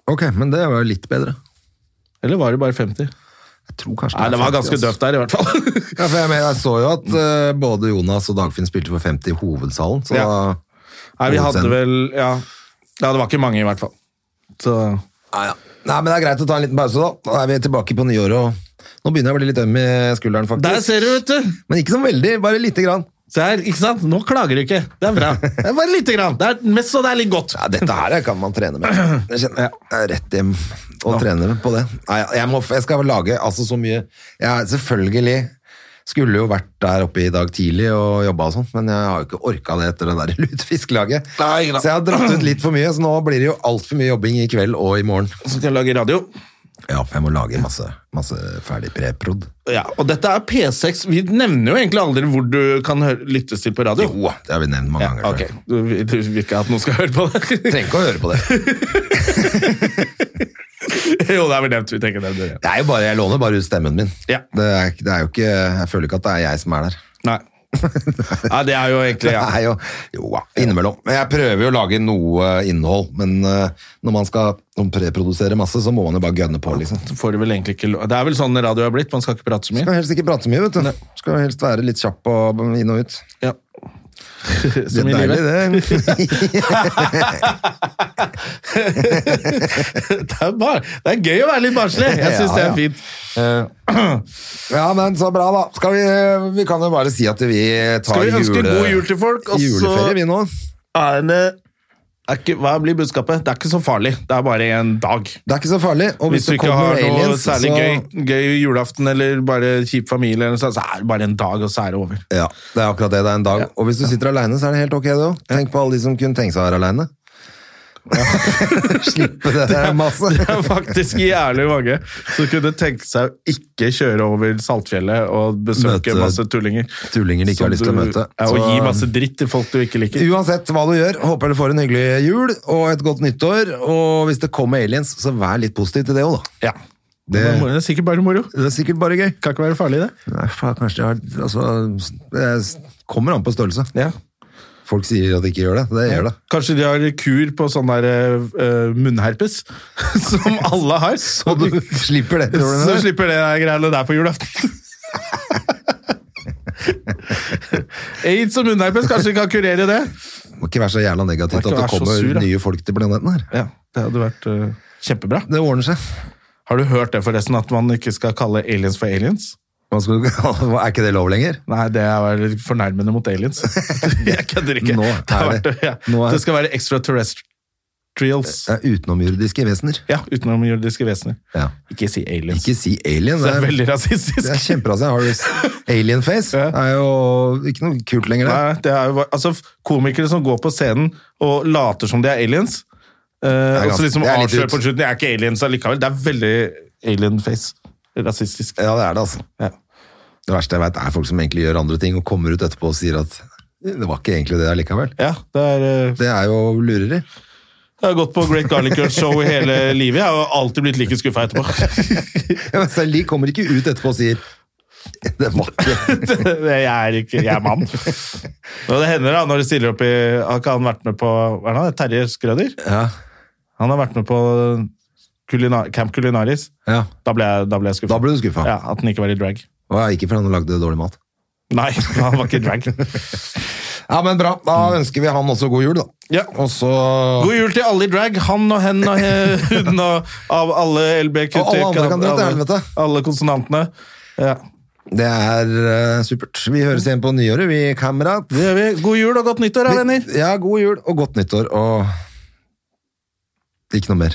Speaker 2: Ok, men det var jo litt bedre.
Speaker 1: Eller var det bare 50?
Speaker 2: Jeg tror kanskje
Speaker 1: Nei, det var
Speaker 2: 50,
Speaker 1: ganske
Speaker 2: altså.
Speaker 1: døvt der, i hvert fall. <laughs>
Speaker 2: Ja, for jeg, mener, jeg så jo at eh, både Jonas og Dagfinn spilte for 50 i hovedsalen, så
Speaker 1: Ja. Nei, vi hadde vel Ja, ja det var ikke mange, i hvert fall. Så
Speaker 2: Nei, ja. Nei, men det er greit å ta en liten pause, da. Da er vi tilbake på nyåret, og nå begynner jeg å bli litt øm i skulderen, faktisk.
Speaker 1: Der ser du, vet du!
Speaker 2: Men ikke så veldig, bare lite grann.
Speaker 1: Se her, ikke sant? Nå klager du ikke. Det er bra. Det er bare lite grann. Det er mest så det er litt godt.
Speaker 2: Ja, dette her kan man trene
Speaker 1: <clears throat>
Speaker 2: med. Jeg kjenner jeg er rett hjem og trene på det. Nei, jeg, må, jeg skal lage altså så mye Jeg selvfølgelig skulle jo vært der oppe i dag tidlig og jobba og sånn, men jeg har jo ikke orka det etter det der <laughs> lutefisklaget.
Speaker 1: Nei,
Speaker 2: Så
Speaker 1: ikke da.
Speaker 2: jeg har dratt ut litt for mye, så nå blir det jo altfor mye jobbing i kveld og i morgen.
Speaker 1: Så skal jeg lage radio.
Speaker 2: Ja, for jeg må lage masse, masse ferdig preprod.
Speaker 1: Ja, Og dette er P6. Vi nevner jo egentlig aldri hvor du kan høre, lyttes til på radio.
Speaker 2: Jo, det har vi nevnt mange
Speaker 1: Ja,
Speaker 2: ganger.
Speaker 1: ok.
Speaker 2: før.
Speaker 1: Du, vil- du vil ikke at noen skal høre på det?
Speaker 2: Trenger ikke å høre på det.
Speaker 1: <laughs> jo, det er vel nevnt. Vi tenker nevnt det.
Speaker 2: Det er jo bare, Jeg låner bare ut stemmen min.
Speaker 1: Ja.
Speaker 2: Det, er, det er jo ikke, Jeg føler ikke at det er jeg som er der. <laughs>
Speaker 1: Nei. Nei, det er jo egentlig ja.
Speaker 2: Det er jo, <laughs> jo da, innimellom. Men Jeg prøver jo å lage noe innhold, men eh, når man skal preprodusere masse, så må man jo bare gønne på, liksom.
Speaker 1: Så får du vel egentlig ikke lov Det er vel sånn radio er blitt, man skal ikke prate så mye.
Speaker 2: Skal helst ikke prate så mye, vet du. Skal helst være litt kjapp og inn og ut.
Speaker 1: Ja. <laughs> Som i
Speaker 2: Det er
Speaker 1: livet.
Speaker 2: deilig, det.
Speaker 1: <laughs> Det er, bare, det er gøy å være litt barnslig. Jeg syns
Speaker 2: <laughs> Ja,
Speaker 1: det
Speaker 2: ja.
Speaker 1: er fint.
Speaker 2: Eh, <clears throat> ja, men så bra, da. Skal vi, vi kan jo bare si at vi tar
Speaker 1: Skal vi ønske
Speaker 2: jule-
Speaker 1: god jul til folk, og
Speaker 2: juleferie,
Speaker 1: så
Speaker 2: vi nå.
Speaker 1: er det er ikke, Hva blir budskapet? Det er ikke så farlig. Det er bare en dag.
Speaker 2: Det er ikke så farlig. Og hvis,
Speaker 1: Hvis du
Speaker 2: det
Speaker 1: ikke har
Speaker 2: kommer
Speaker 1: noe
Speaker 2: aliens,
Speaker 1: særlig
Speaker 2: så
Speaker 1: gøy, gøy julaften eller bare kjip familie, eller noe sånt, så er det bare en dag, og så er det
Speaker 2: <laughs>
Speaker 1: over.
Speaker 2: Ja, det er akkurat det. Det er en dag. Og hvis du sitter alene, så er det helt ok, det òg. Tenk på alle de som kunne tenke seg å være alene. <laughs> Slippe det der masse.
Speaker 1: Det er faktisk jævlig mange som kunne tenke seg å ikke kjøre over Saltfjellet og
Speaker 2: Møte
Speaker 1: besøke masse tullinger.
Speaker 2: tullinger de ikke
Speaker 1: Som
Speaker 2: har lyst til å
Speaker 1: du-
Speaker 2: møte.
Speaker 1: Ja, og
Speaker 2: Så-
Speaker 1: gi masse dritt til folk du ikke liker.
Speaker 2: Uansett hva du gjør, håper du får en hyggelig jul og et godt nyttår. Og hvis det kommer aliens, så vær litt positiv til det òg, da.
Speaker 1: Ja. Det,
Speaker 2: Det,
Speaker 1: er sikkert bare moro.
Speaker 2: det er sikkert bare gøy.
Speaker 1: Kan ikke være farlig, det.
Speaker 2: Nei, faen, kanskje jeg har Altså, det kommer an på størrelse. Folk sier at de ikke gjør det. Det gjør det.
Speaker 1: Kanskje de har kur på sånn der eh, munnherpes, <laughs> som alle
Speaker 2: <laughs>
Speaker 1: har. Så,
Speaker 2: Og du slipper det. tror du
Speaker 1: <laughs> så
Speaker 2: det?
Speaker 1: slipper det der greiene der
Speaker 2: <laughs>
Speaker 1: på julaften. Aids og munnherpes kanskje kan kurere det?
Speaker 2: Må ikke være så jævla negativt
Speaker 1: Må ikke
Speaker 2: at det
Speaker 1: være så
Speaker 2: kommer
Speaker 1: sur, da.
Speaker 2: nye folk til planeten her.
Speaker 1: Ja, Det hadde vært eh, kjempebra.
Speaker 2: Det ordner seg.
Speaker 1: Har du hørt det forresten, at man ikke skal kalle aliens for aliens?
Speaker 2: Hva skal <laughs> du, er ikke det lov lenger?
Speaker 1: Nei, det er vel fornærmende mot
Speaker 2: <laughs>
Speaker 1: aliens. Jeg kødder ikke.
Speaker 2: Nå
Speaker 1: det, har
Speaker 2: er det-
Speaker 1: vært- ja.
Speaker 2: nå er-
Speaker 1: det skal være extraterrestrials.
Speaker 2: Det er utenomjordiske vesener.
Speaker 1: Ja, utenomjordiske vesener.
Speaker 2: Ja.
Speaker 1: Ikke si aliens.
Speaker 2: Ikke si alien.
Speaker 1: Det
Speaker 2: Det
Speaker 1: er
Speaker 2: er,
Speaker 1: veldig rasistisk.
Speaker 2: det er kjemperasig. Har du
Speaker 1: <laughs>
Speaker 2: s- Alien face
Speaker 1: Ja.
Speaker 2: er jo ikke noe kult lenger. Det.
Speaker 1: Nei, det er jo, bare- altså, komikere som går på scenen og later som de er aliens, eh, og så
Speaker 2: ganske-
Speaker 1: liksom
Speaker 2: det er litt
Speaker 1: avslører
Speaker 2: ut.
Speaker 1: på slutten de er ikke aliens allikevel. Det er veldig alien face. rasistisk.
Speaker 2: Ja, det er det, altså.
Speaker 1: Ja.
Speaker 2: Det verste jeg vet er folk som egentlig gjør andre ting og kommer ut etterpå og sier at det var ikke egentlig det allikevel.
Speaker 1: Ja, det, er, eh,
Speaker 2: Det er jo lureri. <laughs>
Speaker 1: jeg har gått på Great Garlic Girl Show hele livet. Jeg har alltid blitt like skuffa etterpå. <laughs>
Speaker 2: Ja, men selv de kommer ikke ut etterpå og sier <laughs> det var ikke
Speaker 1: Jeg er, ikke, jeg er mann. Og det hender da, når de stiller opp i Har ikke han vært med på hva er det, han, Terje Skrøder?
Speaker 2: Ja.
Speaker 1: Han har vært med på Kulina- Camp Culinaris.
Speaker 2: ja.
Speaker 1: Da ble jeg, da ble jeg skuffa.
Speaker 2: Da ble du skuffa.
Speaker 1: Ja, at han ikke var i drag.
Speaker 2: Og jeg er ikke fordi han lagde dårlig mat.
Speaker 1: Nei, <laughs> han var ikke i drag.
Speaker 2: Ja, men bra. Da ønsker vi han også god jul, da.
Speaker 1: Ja.
Speaker 2: Og så
Speaker 1: Mm. God jul til alle i drag. Han og hen og he- <laughs> hun og av alle LBQT.
Speaker 2: Og alle andre kan dra til helvete.
Speaker 1: Alle konsonantene. Ja,
Speaker 2: Det er eh, supert. Vi høres igjen på nyåret, vi, kamerat.
Speaker 1: det gjør vi. God jul og godt nyttår, da, venner.
Speaker 2: Ja, god jul og godt nyttår og Ikke noe mer.